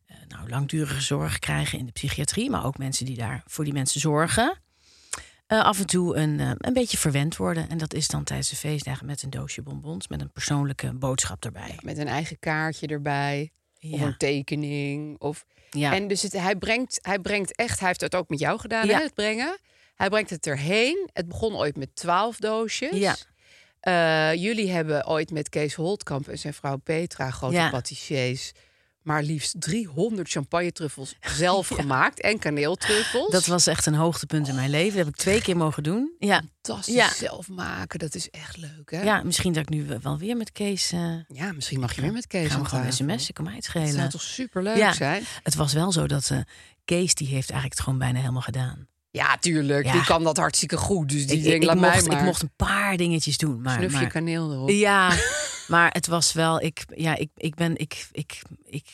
C: eh, nou, langdurige zorg krijgen in de psychiatrie... maar ook mensen die daar voor die mensen zorgen... eh, af en toe een, eh, een beetje verwend worden. En dat is dan tijdens de feestdagen met een doosje bonbons... met een persoonlijke boodschap erbij.
B: Met een eigen kaartje erbij. Of
C: Ja.
B: een tekening. Of...
C: Ja.
B: En dus het, hij, brengt, hij brengt echt, hij heeft het ook met jou gedaan,
C: Ja.
B: hè, het brengen. Hij brengt het erheen. Het begon ooit met twaalf doosjes.
C: Ja.
B: Eh, jullie hebben ooit met Kees Holtkamp en zijn vrouw Petra, grote
C: Ja.
B: patissiers, maar liefst 300 champagne-truffels zelf gemaakt en kaneeltruffels.
C: Dat was echt een hoogtepunt in mijn leven. Dat heb ik twee keer mogen doen. Ja,
B: fantastisch
C: Ja.
B: zelf maken. Dat is echt leuk, hè?
C: ja misschien dat ik nu wel weer met Kees... eh gaan
B: Ja, misschien mag je weer met Kees.
C: we
B: aan
C: gewoon
B: tafel.
C: sms'en, kan mij het
B: Dat zou
C: schelen.
B: toch superleuk
C: Ja.
B: zijn?
C: Het was wel zo dat eh, Kees die heeft eigenlijk het gewoon bijna helemaal gedaan.
B: Ja, tuurlijk.
C: Ja.
B: Die kan dat hartstikke goed. Dus die
C: ik,
B: denkt,
C: ik,
B: laat
C: mocht,
B: mij maar.
C: ik mocht een paar dingetjes doen. Maar,
B: Snufje
C: maar-
B: kaneel erop.
C: Ja, maar het was wel. Ik, ja, ik, ik ben. Ik, ik, ik,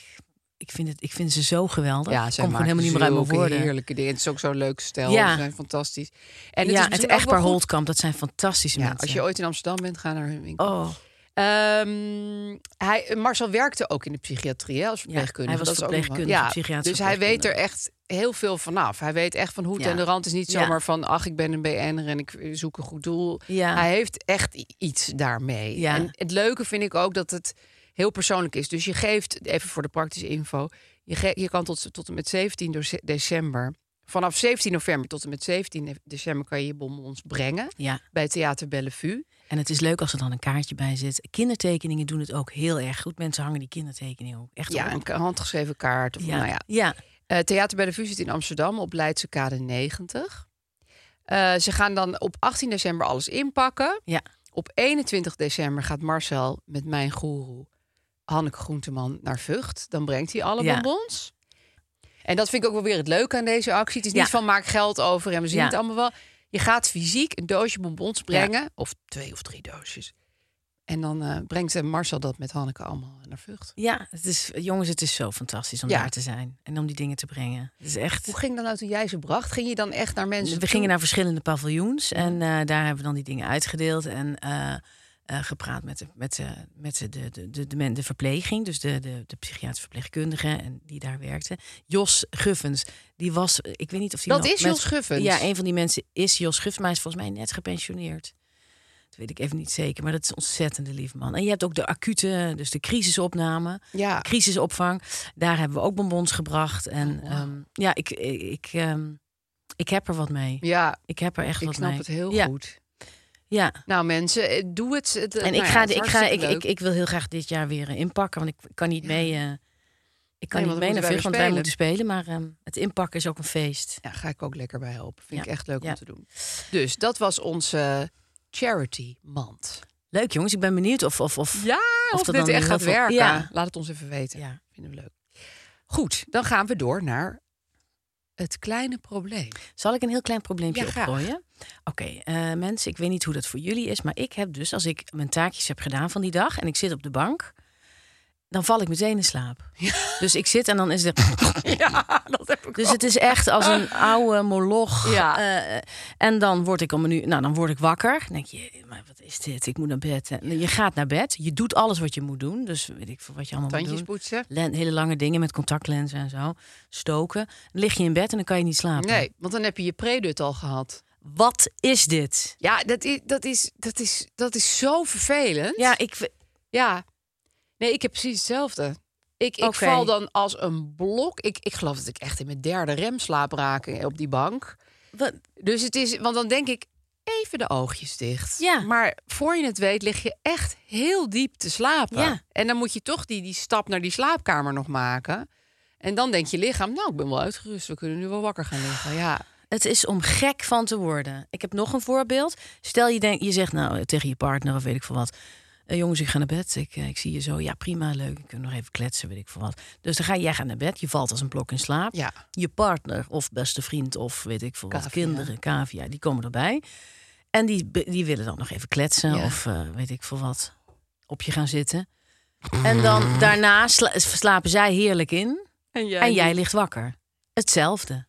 C: ik, vind het, ik vind ze zo geweldig.
B: Ja,
C: ik
B: ze
C: kom gewoon helemaal niet meer uit mijn woorden.
B: heerlijke dingen. Het is ook zo'n leuk stel.
C: Ja.
B: Ze zijn fantastisch. En het
C: ja,
B: is
C: het
B: misschien ook
C: echtpaar
B: wel goed-
C: Holtkamp, dat zijn fantastische
B: Ja,
C: mensen.
B: als je ooit in Amsterdam bent, ga naar hun winkel.
C: oh,
B: Ehm, hij, Marcel werkte ook in de psychiatrie hè, als verpleegkundige.
C: hij was
B: dat is ook nog wat.
C: verpleegkundige,
B: ja,
C: psychiatrisch
B: Dus hij weet er
C: verpleegkundige.
B: echt heel veel vanaf. Hij weet echt van hoed
C: Ja.
B: en de rand is niet
C: Ja.
B: zomaar van... ach, ik ben een BN'er en ik eh, zoek een goed doel.
C: Ja.
B: Hij heeft echt i- iets daarmee.
C: Ja.
B: En het leuke vind ik ook dat het heel persoonlijk is. Dus je geeft, even voor de praktische info... je, ge- je kan tot, tot en met 17 doce- december... vanaf 17 november tot en met 17 december... kan je je bonbons brengen
C: ja.
B: bij Theater Bellevue.
C: En het is leuk als er dan een kaartje bij zit. Kindertekeningen doen het ook heel erg goed. Mensen hangen die kindertekeningen ook echt
B: Ja,
C: op.
B: een k- handgeschreven kaart. Of, Nou ja,
C: ja.
B: Eh, Theater bij de Vuur zit in Amsterdam op Leidse Kade 90. Eh, ze gaan dan op 18 december alles inpakken.
C: Ja.
B: Op 21 december gaat Marcel met mijn goeroe Hanneke Groenteman naar Vught. Dan brengt hij alle
C: Ja.
B: bonbons. En dat vind ik ook wel weer het leuke aan deze actie. Het is
C: Ja.
B: niet van maak geld over en we zien
C: Ja.
B: het allemaal wel. Je gaat fysiek een doosje bonbons brengen. Of twee of drie doosjes. En dan eh, brengt eh, Marcel dat met Hanneke allemaal naar Vught.
C: Ja, het is, jongens, het is zo fantastisch om
B: Ja.
C: daar te zijn en om die dingen te brengen. Het is echt.
B: Hoe ging dat nou toen jij ze bracht? Ging je dan echt naar mensen
C: We
B: toe?
C: gingen naar verschillende paviljoens en eh, daar hebben we dan die dingen uitgedeeld en eh, eh, gepraat met, de, met, de, met de, de, de, de, men- de verpleging, dus de, de, de psychiatrische verpleegkundige en die daar werkte. Jos Guffens, die was, ik weet niet of die
B: Dat
C: nog
B: is Jos Guffens?
C: Ja, een van die mensen is Jos Guffens, maar hij is volgens mij net gepensioneerd. Dat weet ik even niet zeker, maar dat is een ontzettende lieve man. En je hebt ook de acute, dus de crisisopname.
B: Ja.
C: crisisopvang. Daar hebben we ook bonbons gebracht. En
B: Oh,
C: ehm, ja, ik, ik, ik, ehm, ik heb er wat mee.
B: Ja,
C: Ik heb er echt
B: ik
C: wat
B: snap
C: mee.
B: het heel
C: ja,
B: goed.
C: Ja.
B: Nou mensen, eh, doe het. Het, eh,
C: En ik,
B: nou ja,
C: ga,
B: het is
C: ik, ga, ik,
B: hartstikke
C: ik,
B: leuk.
C: ik wil heel graag dit jaar weer eh, inpakken. Want ik kan niet mee. eh, ik kan
B: Nee, want
C: niet
B: dan
C: mee
B: moeten wij
C: naar Vught,
B: weer
C: want wij
B: spelen.
C: moeten spelen. Maar ehm, het inpakken is ook een feest.
B: Ja, ga ik ook lekker bij helpen. Vind
C: Ja.
B: ik echt leuk
C: Ja.
B: om te doen. Dus dat was onze charity mand.
C: Leuk jongens, ik ben benieuwd of... of, of
B: Ja,
C: of
B: of,
C: dat
B: dit
C: dan
B: echt
C: heel
B: gaat
C: veel-
B: werken.
C: Ja.
B: Laat het ons even weten.
C: Ja.
B: Vinden we leuk. Goed, dan gaan we door naar het kleine probleem.
C: Zal ik een heel klein probleempje
B: Ja, graag.
C: opgooien? Oké, eh, mensen, ik weet niet hoe dat voor jullie is, maar ik heb dus als ik mijn taakjes heb gedaan van die dag en ik zit op de bank, dan val ik meteen in slaap. Dus ik zit en dan is het.
B: Ja, dat heb ik
C: Dus het is echt als een oude moloch.
B: Ja.
C: Eh, en dan word ik om een uur, nou dan word ik wakker. Dan denk je, maar wat is dit? Ik moet naar bed. En je gaat naar bed. Je doet alles wat je moet doen. Dus weet ik veel wat je allemaal moet
B: Tandjes
C: doen.
B: poetsen.
C: Len- hele lange dingen met contactlenzen en zo. Stoken. Dan lig je in bed en dan kan je niet slapen.
B: Nee, want dan heb je je predut al gehad.
C: Wat is dit?
B: Ja, dat is, dat is, dat is, dat is zo vervelend.
C: Ja, ik,
B: Ja. Nee, ik heb precies hetzelfde. Ik, ik
C: Oké.
B: val dan als een blok. Ik, ik geloof dat ik echt in mijn derde rem slaap raak eh, op die bank.
C: Wat?
B: Dus het is, want dan denk ik even de oogjes dicht.
C: Ja.
B: Maar voor je het weet lig je echt heel diep te slapen.
C: Ja.
B: En dan moet je toch die, die stap naar die slaapkamer nog maken. En dan denkt je lichaam, nou, ik ben wel uitgerust. We kunnen nu wel wakker gaan liggen. Ja.
C: Het is om gek van te worden. Ik heb nog een voorbeeld. Stel je, denkt, je zegt nou eh, tegen je partner of weet ik veel wat. eh, jongens, ik ga naar bed. Ik, eh, ik zie je zo. Ja, prima, leuk. Ik kan nog even kletsen, weet ik veel wat. Dus dan ga jij gaat naar bed. Je valt als een blok in slaap.
B: Ja.
C: Je partner of beste vriend of weet ik veel wat.
B: Cavia.
C: Kinderen, cavia, die komen erbij. En die, be- die willen dan nog even kletsen
B: Ja.
C: of eh, weet ik veel wat. Op je gaan zitten. En dan daarna sla- slapen zij heerlijk in. En jij ligt wakker. Hetzelfde.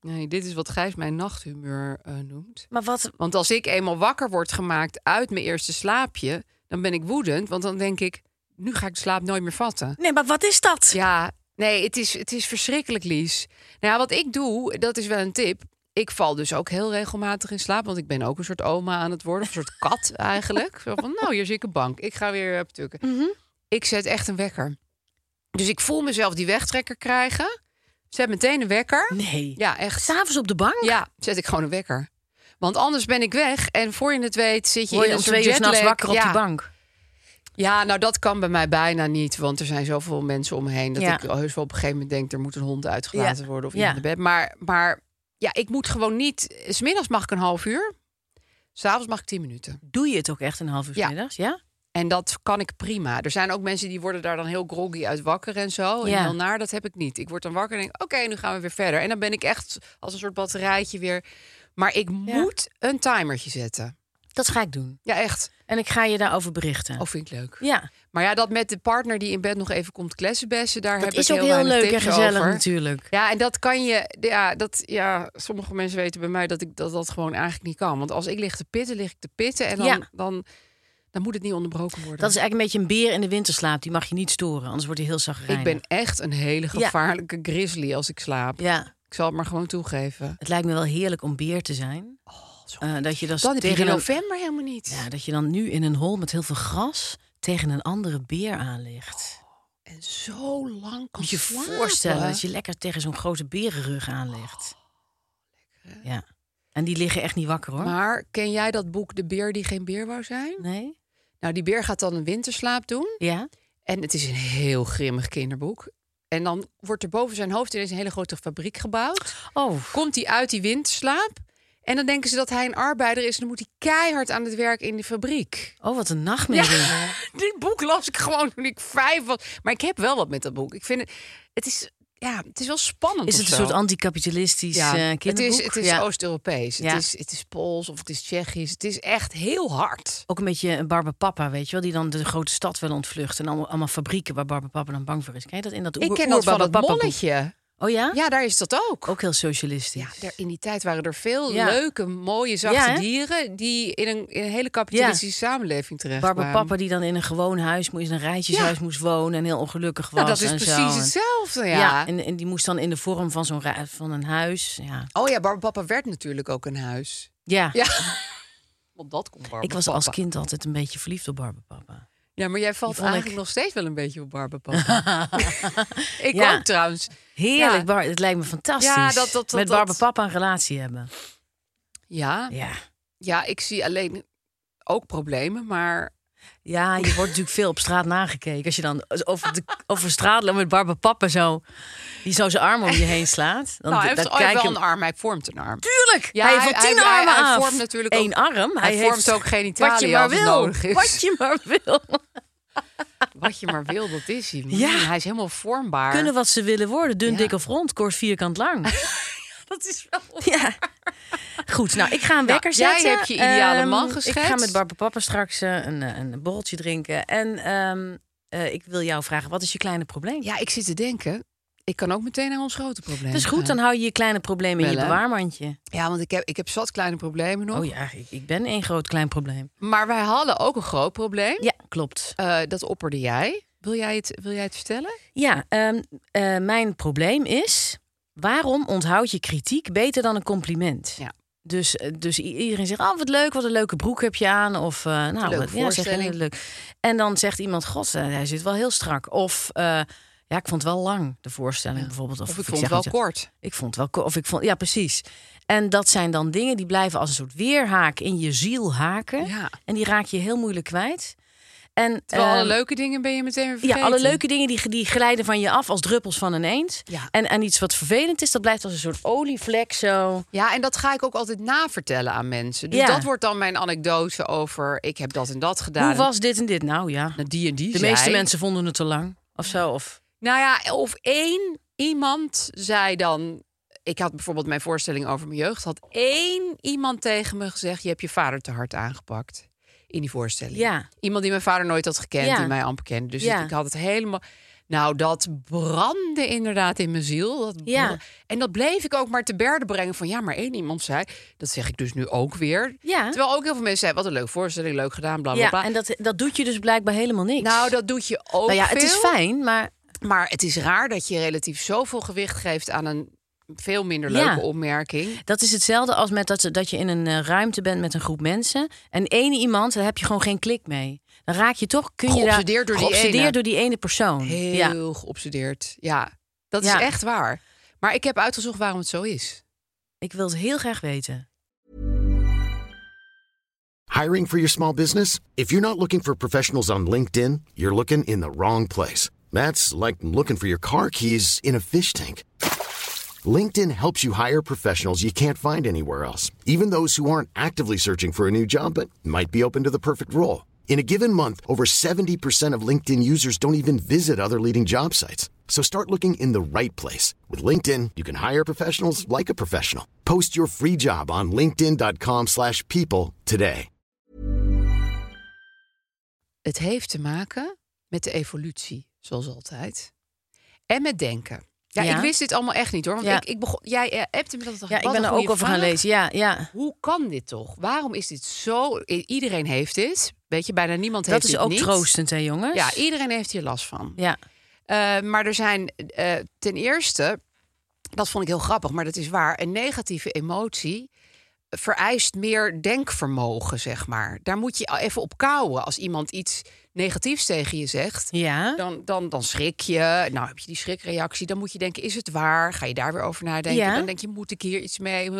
B: Nee, dit is wat Gijs mijn nachthumeur eh, noemt.
C: Maar wat,
B: Want als ik eenmaal wakker word gemaakt uit mijn eerste slaapje, dan ben ik woedend. Want dan denk ik, nu ga ik de slaap nooit meer vatten.
C: nee, maar wat is dat?
B: Ja, nee, het is, het is verschrikkelijk, Lies. Nou ja, wat ik doe, dat is wel een tip. Ik val dus ook heel regelmatig in slaap, want ik ben ook een soort oma aan het worden. Of een soort kat eigenlijk. Zo van, nou, hier zie ik een bank. Ik ga weer op tukken. Ik zet echt een wekker. Dus ik voel mezelf die wegtrekker krijgen. Zet meteen een wekker.
C: Nee.
B: Ja, echt.
C: S'avonds op de bank?
B: Ja, zet ik gewoon een wekker. Want anders ben ik weg en voor je het weet zit je
C: Word
B: in
C: je
B: een
C: om
B: soort
C: twee uur s'nachts
B: jetlag.
C: wakker op
B: ja.
C: die bank?
B: Ja, nou dat kan bij mij bijna niet, want er zijn zoveel mensen om me heen dat
C: Ja.
B: ik heus wel op een gegeven moment denk er moet een hond uitgelaten
C: Ja.
B: worden of
C: Ja.
B: iemand naar bed. Maar, maar ja, ik moet gewoon niet. Smiddags mag ik een half uur, s'avonds mag ik tien minuten.
C: Doe je het ook echt een half uur
B: Ja.
C: 's middags? Ja.
B: En dat kan ik prima. Er zijn ook mensen die worden daar dan heel groggy uit wakker en zo.
C: Ja.
B: En dan naar, dat heb ik niet. Ik word dan wakker en denk, oké, nu gaan we weer verder. En dan ben ik echt als een soort batterijtje weer. Maar ik moet een timertje zetten.
C: Dat ga ik doen.
B: Ja, echt.
C: En ik ga je daarover berichten.
B: Oh, vind ik leuk.
C: Ja,
B: Maar ja, dat met de partner die in bed nog even komt klessenbessen, daar
C: dat
B: heb
C: is
B: ik
C: ook heel
B: weinig
C: leuk en
B: tips
C: gezellig
B: over.
C: natuurlijk.
B: Ja, en dat kan je. Ja, dat, ja, sommige mensen weten bij mij dat ik dat, dat gewoon eigenlijk niet kan. Want als ik lig te pitten, lig ik te pitten. En dan,
C: Ja.
B: dan, dan moet het niet onderbroken worden.
C: Dat is eigenlijk een beetje een beer in de winterslaap. Die mag je niet storen, anders wordt hij heel zagrijnig.
B: ik ben echt een hele
C: Ja.
B: gevaarlijke grizzly als ik slaap.
C: Ja,
B: Ik zal het maar gewoon toegeven.
C: het lijkt me wel heerlijk om beer te zijn. Eh, dat je dan,
B: Dan heb je
C: tegen
B: in
C: een-
B: november helemaal niet.
C: ja, dat je dan nu in een hol met heel veel gras tegen een andere beer aan ligt.
B: En zo lang kan
C: Moet je je
B: slapen.
C: voorstellen dat je lekker tegen zo'n grote berenrug aan ligt. ja. En die liggen echt niet wakker hoor.
B: Oh, Maar ken jij dat boek De Beer die geen beer wou zijn?
C: Nee?
B: Nou, die beer gaat dan een winterslaap doen.
C: Ja?
B: En het is een heel grimmig kinderboek. En dan wordt er boven zijn hoofd ineens een hele grote fabriek gebouwd.
C: Oh.
B: Komt hij uit die windslaap. En dan denken ze dat hij een arbeider is. En dan moet hij keihard aan het werk in de fabriek.
C: Oh, wat een nachtmerrie.
B: Dit boek las ik gewoon toen ik vijf was. Maar ik heb wel wat met dat boek. Ik vind het... Het is, ja, het is wel spannend
C: Is
B: of
C: het een
B: zo.
C: soort anticapitalistisch eh kinderboek?
B: het is, het is
C: Ja.
B: Oost-Europees.
C: Ja.
B: Het, is, het is Pools of het is Tsjechisch. Het is echt heel hard.
C: Ook een beetje een Barbapapa, weet je wel? Die dan de grote stad wil ontvluchten. En allemaal, allemaal fabrieken waar Barbapapa dan bang voor is. Ken je dat in dat
B: Ik
C: oer-
B: ken dat van het
C: oer-Barbapapa-boek?
B: molletje.
C: Oh ja?
B: Ja, daar is dat ook.
C: Ook heel socialistisch.
B: Ja, daar- in die tijd waren er veel
C: Ja.
B: leuke, mooie, zachte
C: Ja, hè?
B: dieren... die in een, in een hele kapitalistische samenleving terecht kwamen.
C: Barbapapa die dan in een gewoon huis moest, in een rijtjeshuis
B: Ja.
C: moest wonen. En heel ongelukkig was
B: Nou, dat is
C: en
B: precies
C: zo. En-
B: hetzelfde, ja.
C: Ja, en, en die moest dan in de vorm van zo'n ra- van een huis. Ja.
B: Oh ja, Barbapapa werd natuurlijk ook een huis.
C: Ja.
B: Ja. Want dat komt Barbapapa.
C: Ik was als kind altijd een beetje verliefd op Barbapapa.
B: Ja, maar jij valt
C: Die vond ik-
B: eigenlijk nog steeds wel een beetje op Barbapapa. ik
C: Ja.
B: ook trouwens.
C: Heerlijk,
B: Ja.
C: Bar- het lijkt me fantastisch.
B: Ja, dat- dat- dat-
C: Met
B: dat-
C: Barbapapa een relatie hebben.
B: Ja,
C: Ja.
B: ja, ik zie alleen ook problemen, maar...
C: Ja, je wordt natuurlijk veel op straat nagekeken. Als je dan over de, over straat loopt met Barbapapa zo... die zo zijn arm om je heen slaat. Dan,
B: nou, hij
C: dan
B: heeft ooit
C: kijken-
B: wel een arm, hij vormt een arm.
C: Tuurlijk!
B: Ja,
C: hij
B: hij-
C: heeft al tien
B: hij- hij-
C: armen
B: hij
C: af.
B: vormt natuurlijk
C: Eén arm.
B: hij
C: heeft
B: vormt ook genitaliën
C: wat je maar
B: als het
C: wil.
B: nodig is.
C: Wat je maar wil.
B: Wat je maar wil, dat is hij.
C: Ja.
B: Hij is helemaal vormbaar.
C: Kunnen wat ze willen worden. Dun,
B: Ja.
C: dik of rond, kort, vierkant, lang.
B: Dat is wel...
C: ja. Goed, nou, ik ga een wekker
B: jij
C: zetten.
B: hebt je ideale
C: Ehm,
B: man
C: Ik ga
B: geschetst.
C: met Barbapapa straks eh, een, eh, een borreltje drinken. En ehm, eh, ik wil jou vragen, wat is je kleine probleem?
B: Ja, ik zit te denken. Ik kan ook meteen naar ons grote probleem.
C: Het is goed,
B: gaan.
C: dan hou je je kleine problemen in je
B: Wel, hè?
C: bewaarmandje.
B: Ja, want ik heb, ik heb zat kleine problemen nog.
C: Oh ja, ik, ik ben één groot klein probleem.
B: Maar wij hadden ook een groot probleem.
C: Ja, klopt.
B: Eh, dat opperde jij. Wil jij het, wil jij het vertellen?
C: Ja, ehm, eh, mijn probleem is... waarom onthoud je kritiek beter dan een compliment?
B: Ja.
C: Dus, eh, dus i- iedereen zegt, oh wat leuk, wat een leuke broek heb je aan. Of eh nou,
B: Leuke
C: wat, ja, zeg,
B: voorstelling.
C: heel leuk. En dan zegt iemand, god, eh, hij zit wel heel strak. Of, eh, ja, ik vond het wel lang, de voorstelling bijvoorbeeld. Of,
B: Of ik
C: zeg
B: vond het wel
C: iets-
B: kort.
C: Ik vond het wel ko- of ik vond ja precies. En dat zijn dan dingen die blijven als een soort weerhaak in je ziel haken.
B: Ja.
C: En die raak je heel moeilijk kwijt. En
B: Terwijl alle
C: ehm,
B: leuke dingen ben je meteen weer
C: ja,
B: vergeten.
C: alle leuke dingen die, die glijden van je af als druppels van een eend.
B: Ja.
C: En, en iets wat vervelend is, dat blijft als een soort olievlek zo.
B: Ja, en dat ga ik ook altijd navertellen aan mensen. Dus
C: Ja.
B: dat wordt dan mijn anekdote over ik heb dat en dat gedaan.
C: Hoe was dit en dit? Nou ja,
B: Nou, die en die
C: de meeste
B: zei-
C: mensen vonden het te lang. Of zo. Of,
B: Nou ja, of één iemand zei dan... Ik had bijvoorbeeld mijn voorstelling over mijn jeugd. Had één iemand tegen me gezegd... je hebt je vader te hard aangepakt in die voorstelling.
C: Ja.
B: Iemand die mijn vader nooit had gekend,
C: Ja.
B: die mij amper kende. Dus
C: Ja.
B: ik had het helemaal... Nou, dat brandde inderdaad in mijn ziel. Dat
C: Ja.
B: brandde- En dat bleef ik ook maar te berden brengen van... ja, maar één iemand zei, dat zeg ik dus nu ook weer.
C: Ja.
B: Terwijl ook heel veel mensen zeiden, wat een leuk voorstelling, leuk gedaan, bla bla bla.
C: Ja, en dat, dat doet je dus blijkbaar helemaal niks.
B: Nou, dat doet je ook
C: nou ja,
B: veel.
C: het is fijn, maar
B: Maar het is raar dat je relatief zoveel gewicht geeft aan een veel minder
C: Ja.
B: leuke opmerking.
C: dat is hetzelfde als met dat, dat je in een eh, ruimte bent met een groep mensen. En één iemand, daar heb je gewoon geen klik mee. Dan raak je toch, kun je daar...
B: Geobsedeerd door die
C: geobsedeerd
B: ene.
C: door die ene persoon. Ja.
B: Heel geobsedeerd. Ja, dat
C: Ja.
B: is echt waar. Maar ik heb uitgezocht waarom het zo is.
C: Ik wil het heel graag weten.
D: Hiring for your small business? If you're not looking for professionals on LinkedIn, you're looking in the wrong place. That's like looking for your car keys in a fish tank. LinkedIn helps you hire professionals you can't find anywhere else, even those who aren't actively searching for a new job but might be open to the perfect role. In a given month, over 70% of LinkedIn users don't even visit other leading job sites. So start looking in the right place. With LinkedIn, you can hire professionals like a professional. Post your free job on linkedin.com/people slash people today.
B: Het heeft te maken met de evolutie, zoals altijd. En met denken. Ja,
C: Ja.
B: ik wist dit allemaal echt niet hoor. Want
C: Ja.
B: ik, ik begon, jij eh, appte me dat dacht
C: Ja,
B: wat
C: ik ben
B: een
C: er
B: goede
C: ook over gaan
B: vraag.
C: lezen. Ja, ja.
B: Hoe kan dit toch? Waarom is dit zo? I- Iedereen heeft dit. Weet je, bijna niemand
C: Dat
B: heeft
C: is
B: dit
C: ook
B: niet.
C: troostend, hè, jongens?
B: Ja, iedereen heeft hier last van.
C: Ja.
B: Eh, maar er zijn eh, ten eerste, dat vond ik heel grappig, maar dat is waar. Een negatieve emotie vereist meer denkvermogen, zeg maar. Daar moet je even op kouwen. Als iemand iets negatiefs tegen je zegt,
C: Ja.
B: dan, dan, dan schrik je. Nou, heb je die schrikreactie. Dan moet je denken, is het waar? Ga je daar weer over nadenken?
C: Ja.
B: Dan denk je, moet ik hier iets mee?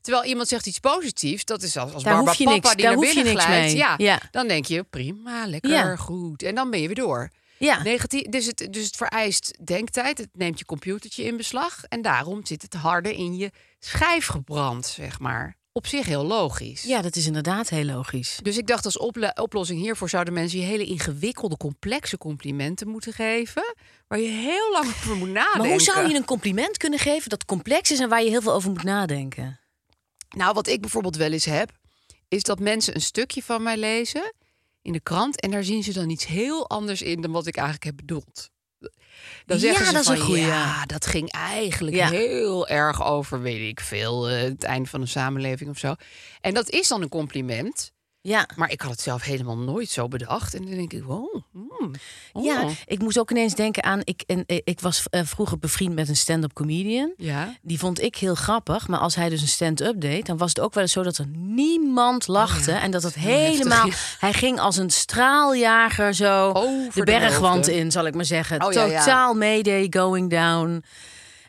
B: Terwijl iemand zegt iets positiefs. Dat is als, als
C: Daar hoef
B: Barbara
C: je
B: Papa
C: niks-
B: die
C: daar
B: naar
C: hoef je
B: binnen
C: niks
B: glijdt.
C: mee.
B: Ja,
C: Ja.
B: Dan denk je, prima, lekker,
C: Ja.
B: goed. En dan ben je weer door.
C: Ja.
B: Negatief, dus, het, dus het vereist denktijd. Het neemt je computertje in beslag. En daarom zit het harde in je schijf gebrand, zeg maar. Op zich heel logisch.
C: ja, dat is inderdaad heel logisch.
B: Dus ik dacht als ople- oplossing hiervoor zouden mensen je hele ingewikkelde, complexe complimenten moeten geven. Waar je heel lang over moet nadenken.
C: Maar hoe zou je een compliment kunnen geven dat complex is en waar je heel veel over moet nadenken?
B: Nou, wat ik bijvoorbeeld wel eens heb, is dat mensen een stukje van mij lezen in de krant. En daar zien ze dan iets heel anders in dan wat ik eigenlijk heb bedoeld. Dan
C: Ja,
B: zeggen ze
C: dat is
B: van,
C: een goeie.
B: Ja, dat ging eigenlijk
C: Ja.
B: heel erg over, weet ik veel, eh, het einde van een samenleving of zo. En dat is dan een compliment.
C: Ja.
B: Maar ik had het zelf helemaal nooit zo bedacht. En dan denk ik, wow. hmm,
C: Ja,
B: oh.
C: ik moest ook ineens denken aan. Ik, en, eh, ik was eh, vroeger bevriend met een stand-up comedian.
B: Ja.
C: Die vond ik heel grappig. Maar als hij dus een stand-up deed, dan was het ook wel eens zo dat er niemand
B: Oh
C: lachte. En dat het helemaal.
B: heftig,
C: Hij ging als een straaljager zo
B: Over
C: de
B: de
C: bergwand
B: hoofden.
C: in, zal ik maar zeggen.
B: Oh, ja, ja.
C: Totaal mayday going down.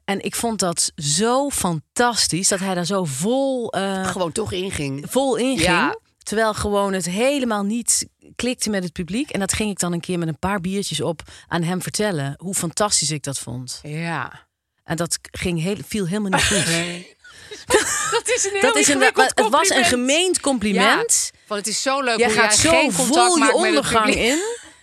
C: En ik vond dat zo fantastisch dat hij daar zo vol, eh
B: Gewoon toch inging.
C: vol in ging.
B: Ja.
C: Terwijl gewoon het helemaal niet klikte met het publiek. En dat ging ik dan een keer met een paar biertjes op aan hem vertellen. Hoe fantastisch ik dat vond.
B: Ja.
C: En dat ging heel, viel helemaal niet goed.
B: Dat is een heel
C: Dat is een,
B: ingewikkeld
C: het was een
B: compliment.
C: gemeend compliment.
B: Ja, want het is zo leuk
C: Jij
B: hoe
C: gaat
B: jij
C: zo
B: geen contact
C: vol je
B: maakt met het
C: ondergang
B: publiek.
C: in.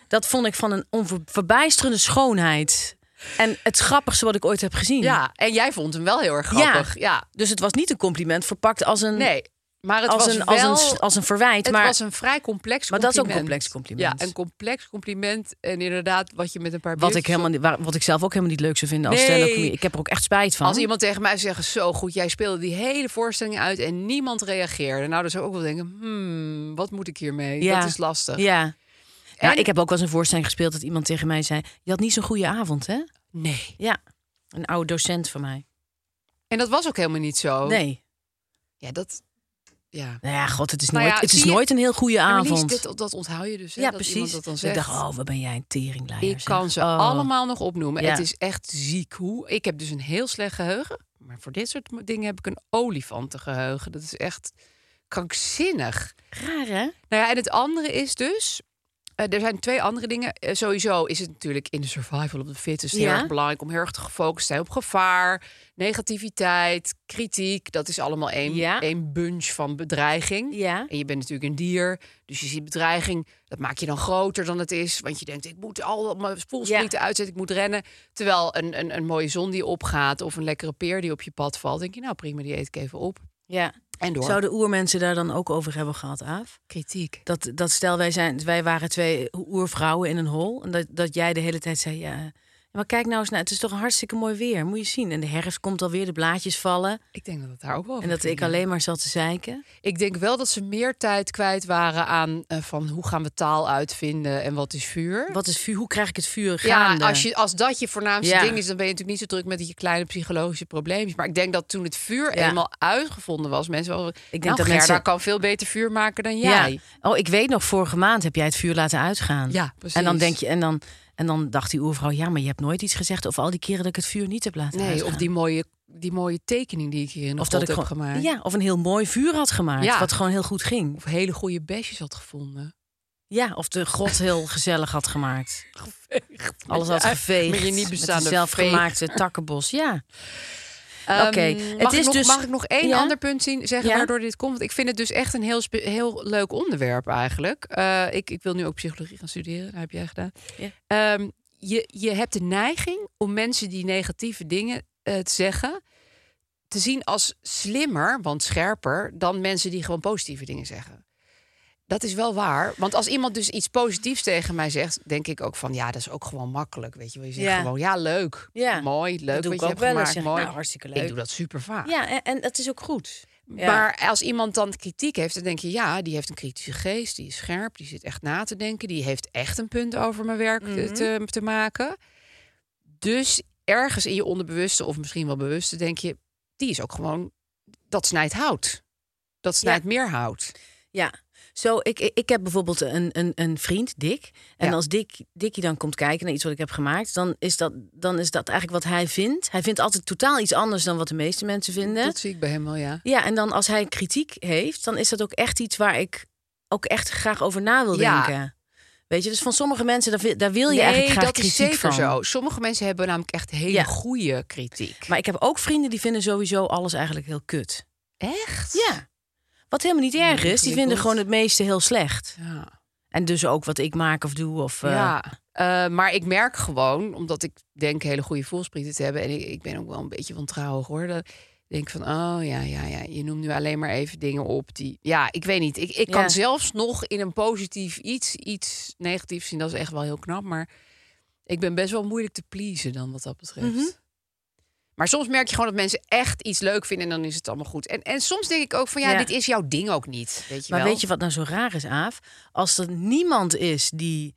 C: Dat vond ik van een onver- verbijsterende schoonheid. En het grappigste wat ik ooit heb gezien.
B: Ja, en jij vond hem wel heel erg grappig. Ja.
C: Dus het was niet een compliment verpakt als een,
B: Nee, maar het
C: Mm. als
B: was
C: een, als
B: wel...
C: een, s- als een verwijt.
B: het
C: maar
B: was een vrij complex compliment.
C: Maar dat is ook een complex compliment.
B: Ja, een complex compliment. En inderdaad, wat je met een paar
C: wat, ik
B: biertjes
C: helemaal, niet- waar- wat ik zelf ook helemaal niet leuk zou vinden als
B: Nee.
C: stand-up comedian. Ik heb er ook echt spijt van.
B: Als iemand tegen mij zegt, zo goed, jij speelde die hele voorstelling uit en niemand reageerde. Nou, dan zou ik ook wel denken, hmm, wat moet ik hiermee?
C: Ja.
B: Dat is lastig.
C: Ja. Nou, ik heb ook wel eens een voorstelling gespeeld dat iemand tegen mij zei... je had niet zo'n goede avond, hè?
B: Nee.
C: Ja, een oude docent van mij.
B: En dat was ook helemaal niet zo.
C: Nee.
B: Ja, dat... Ja.
C: Nou ja, god, het is
B: Nou
C: nooit,
B: ja,
C: het is
B: zie je-
C: nooit een heel goede
B: Ja, maar Lies,
C: avond.
B: dit, dat onthoud je dus, hè,
C: ja,
B: dat iemand
C: precies.
B: dat dan
C: ik
B: zegt.
C: dacht, oh, wat ben jij een teringleider.
B: Ik kan ze
C: zeg. Oh.
B: allemaal nog opnoemen.
C: Ja.
B: Het is echt ziek hoe. Ik heb dus een heel slecht geheugen. Maar voor dit soort dingen heb ik een olifantengeheugen. Dat is echt krankzinnig.
C: Raar, hè?
B: Nou ja, en het andere is dus. eh, er zijn twee andere dingen. Eh, sowieso is het natuurlijk in de survival of the fittest heel
C: Ja.
B: erg belangrijk om heel erg te gefocust te zijn op gevaar, negativiteit, kritiek. Dat is allemaal één,
C: Ja.
B: één bunch van bedreiging.
C: Ja.
B: En je bent natuurlijk een dier, dus je ziet bedreiging. Dat maak je dan groter dan het is. Want je denkt, ik moet al mijn spoelsprieten uitzetten, ik moet rennen. Terwijl een, een, een mooie zon die opgaat of een lekkere peer die op je pad valt... denk je, nou prima, die eet ik even op.
C: Ja.
B: En door.
C: Zouden oermensen daar dan ook over hebben gehad, Aaf?
B: Kritiek.
C: Dat, dat stel, wij, zijn, wij waren twee oervrouwen in een hol. En dat, dat jij de hele tijd zei, ja, Maar kijk nou eens naar, het is toch een hartstikke mooi weer. Moet je zien. En de herfst komt alweer, de blaadjes vallen.
B: Ik denk dat het daar ook wel
C: En dat
B: over
C: ik
B: ging.
C: alleen maar zat te zeiken.
B: Ik denk wel dat ze meer tijd kwijt waren aan eh, van hoe gaan we taal uitvinden en wat is vuur.
C: Wat is vuur? Hoe krijg ik het vuur
B: ja,
C: gaande?
B: als, je, als dat je voornaamste
C: Ja.
B: ding is, dan ben je natuurlijk niet zo druk met je kleine psychologische probleempjes. Maar ik denk dat toen het vuur
C: Ja.
B: eenmaal uitgevonden was, mensen wel. Ik
C: denk
B: nou,
C: dat
B: Gerda
C: mensen-
B: kan veel beter vuur maken dan
C: ja.
B: jij.
C: Oh, ik weet nog, vorige maand heb jij het vuur laten uitgaan.
B: Ja, precies.
C: En dan denk je, en dan, en dan dacht die oervrouw, ja, maar je hebt nooit iets gezegd over al die keren dat ik het vuur niet heb laten
B: Nee,
C: uitgaan.
B: of die mooie, die mooie tekening die ik hier in de
C: of dat
B: grot
C: ik
B: heb
C: gewoon,
B: gemaakt.
C: Ja, of een heel mooi vuur had gemaakt,
B: Ja.
C: wat gewoon heel goed ging.
B: Of hele goede besjes had gevonden.
C: Ja, of de grot heel gezellig had gemaakt.
B: Geveegd.
C: Alles had geveegd.
B: Met je niet
C: Met
B: bestaande
C: een zelfgemaakte takkenbos, ja.
B: Ehm,
C: Oké,
B: mag,
C: het
B: ik
C: is
B: nog-
C: dus-
B: mag ik nog één
C: Ja?
B: ander punt zien, zeggen
C: Ja?
B: waardoor dit komt? Want ik vind het dus echt een heel, spe- heel leuk onderwerp eigenlijk. Eh, ik, ik wil nu ook psychologie gaan studeren, dat heb jij gedaan.
C: Ja.
B: Ehm, je, je hebt de neiging om mensen die negatieve dingen eh, te zeggen... te zien als slimmer, want scherper... dan mensen die gewoon positieve dingen zeggen. Dat is wel waar. Want als iemand dus iets positiefs tegen mij zegt... denk ik ook van, ja, dat is ook gewoon makkelijk. Weet je, wel. je zegt
C: Ja.
B: gewoon, ja, leuk,
C: Ja.
B: mooi, leuk
C: dat doe
B: wat je
C: ik
B: hebt
C: ook wel eens.
B: gemaakt.
C: Zeg, ik,
B: mooi.
C: nou, hartstikke leuk.
B: Ik doe dat super vaak.
C: Ja, en, en dat is ook goed. Ja.
B: Maar als iemand dan kritiek heeft, dan denk je, ja, die heeft een kritische geest, die is scherp, die zit echt na te denken, die heeft echt een punt over mijn werk eh,
C: Mhm.
B: te, te maken. Dus ergens in je onderbewuste of misschien wel bewuste denk je, die is ook gewoon, dat snijdt hout. Dat snijdt meer hout.
C: Ja. Zo, ik, ik ik heb bijvoorbeeld een, een, een vriend, Dick. En
B: Ja.
C: als Dick, Dickie dan komt kijken naar iets wat ik heb gemaakt, dan is, dat, dan is dat eigenlijk wat hij vindt. Hij vindt altijd totaal iets anders dan wat de meeste mensen vinden.
B: Dat zie ik bij hem wel, ja.
C: Ja, en dan als hij kritiek heeft, dan is dat ook echt iets waar ik ook echt graag over na wil
B: Ja.
C: denken. Weet je, dus van sommige mensen, daar, wil- daar wil je eigenlijk graag
B: dat is
C: kritiek
B: zeker
C: van.
B: zo. Sommige mensen hebben namelijk echt hele
C: Ja.
B: goede kritiek.
C: Maar ik heb ook vrienden die vinden sowieso alles eigenlijk heel kut.
B: echt?
C: Ja. Wat helemaal niet erg is, die vinden
B: ingewikkeld.
C: gewoon het meeste heel slecht.
B: ja.
C: En dus ook wat ik maak of doe. Of, eh,
B: Ja, eh, maar ik merk gewoon, omdat ik denk hele goede voelsprieten te hebben... en ik, ik ben ook wel een beetje wantrouwig hoor... Dat, ik denk van, oh ja, ja, ja, je noemt nu alleen maar even dingen op die... Ja, ik weet niet. Ik, ik
C: Ja.
B: kan zelfs nog in een positief iets, iets negatiefs zien. Dat is echt wel heel knap, maar ik ben best wel moeilijk te pleasen dan wat dat betreft.
C: Mhm.
B: Maar soms merk je gewoon dat mensen echt iets leuk vinden en dan is het allemaal goed. En, en soms denk ik ook van, ja,
C: Ja.
B: dit is jouw ding ook niet. Weet je
C: Maar
B: wel?
C: weet je wat nou zo raar is, Aaf? Als er niemand is die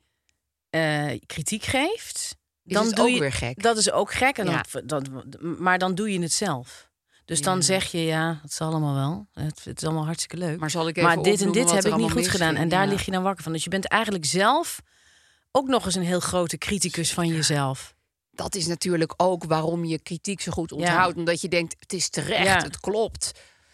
C: eh, kritiek geeft, dan
B: het
C: doe
B: ook
C: je,
B: weer gek.
C: Dat is ook gek. En dan,
B: Ja.
C: dan- maar dan doe je het zelf. Dus
B: Ja.
C: dan zeg je, ja, het is allemaal wel. Het, het is allemaal hartstikke leuk.
B: Maar zal ik even
C: maar dit en
B: opnoemen
C: dit
B: wat
C: heb
B: er
C: ik niet
B: allemaal
C: goed
B: mis
C: gedaan.
B: ging?
C: En daar
B: Ja.
C: lig je dan wakker van. Dus je bent eigenlijk zelf ook nog eens een heel grote criticus van jezelf.
B: dat is natuurlijk ook waarom je kritiek zo goed onthoudt. Omdat je denkt, het is terecht,
C: Ja.
B: het klopt.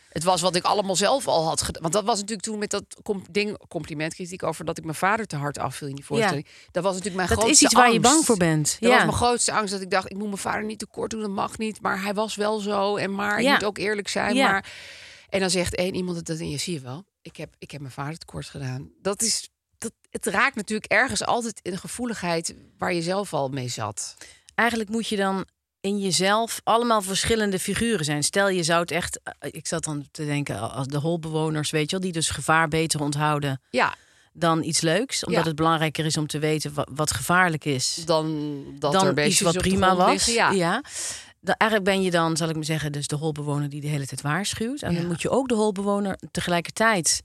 B: Het was wat ik allemaal zelf al had gedaan. Want dat was natuurlijk toen met dat com- ding, complimentkritiek over dat ik mijn vader te hard afviel in die voorstelling. Dat was natuurlijk mijn
C: dat
B: grootste
C: is iets waar je
B: angst.
C: bang voor bent.
B: Dat
C: ja.
B: was mijn grootste angst, dat ik dacht, ik moet mijn vader niet tekort doen, dat mag niet. Maar hij was wel zo, en maar ik
C: Ja.
B: moet ook eerlijk zijn.
C: Ja.
B: Maar... En dan zegt één iemand, dat, en je zie je wel, ik heb, ik heb mijn vader tekort gedaan. Dat is, dat, het raakt natuurlijk ergens altijd een gevoeligheid waar je zelf al mee zat.
C: eigenlijk moet je dan in jezelf allemaal verschillende figuren zijn. Stel, je zou het echt... eh, Ik zat dan te denken, als de holbewoners, weet je wel... die dus gevaar beter onthouden
B: Ja,
C: dan iets leuks. Omdat
B: Ja.
C: het belangrijker is om te weten wa- wat gevaarlijk is...
B: dan dat
C: dan
B: er beestjes
C: iets wat
B: op de
C: prima
B: grond
C: was.
B: liggen, Ja.
C: Dan, eigenlijk ben je dan, zal ik maar zeggen, dus de holbewoner die de hele tijd waarschuwt. En
B: Ja.
C: dan moet je ook de holbewoner tegelijkertijd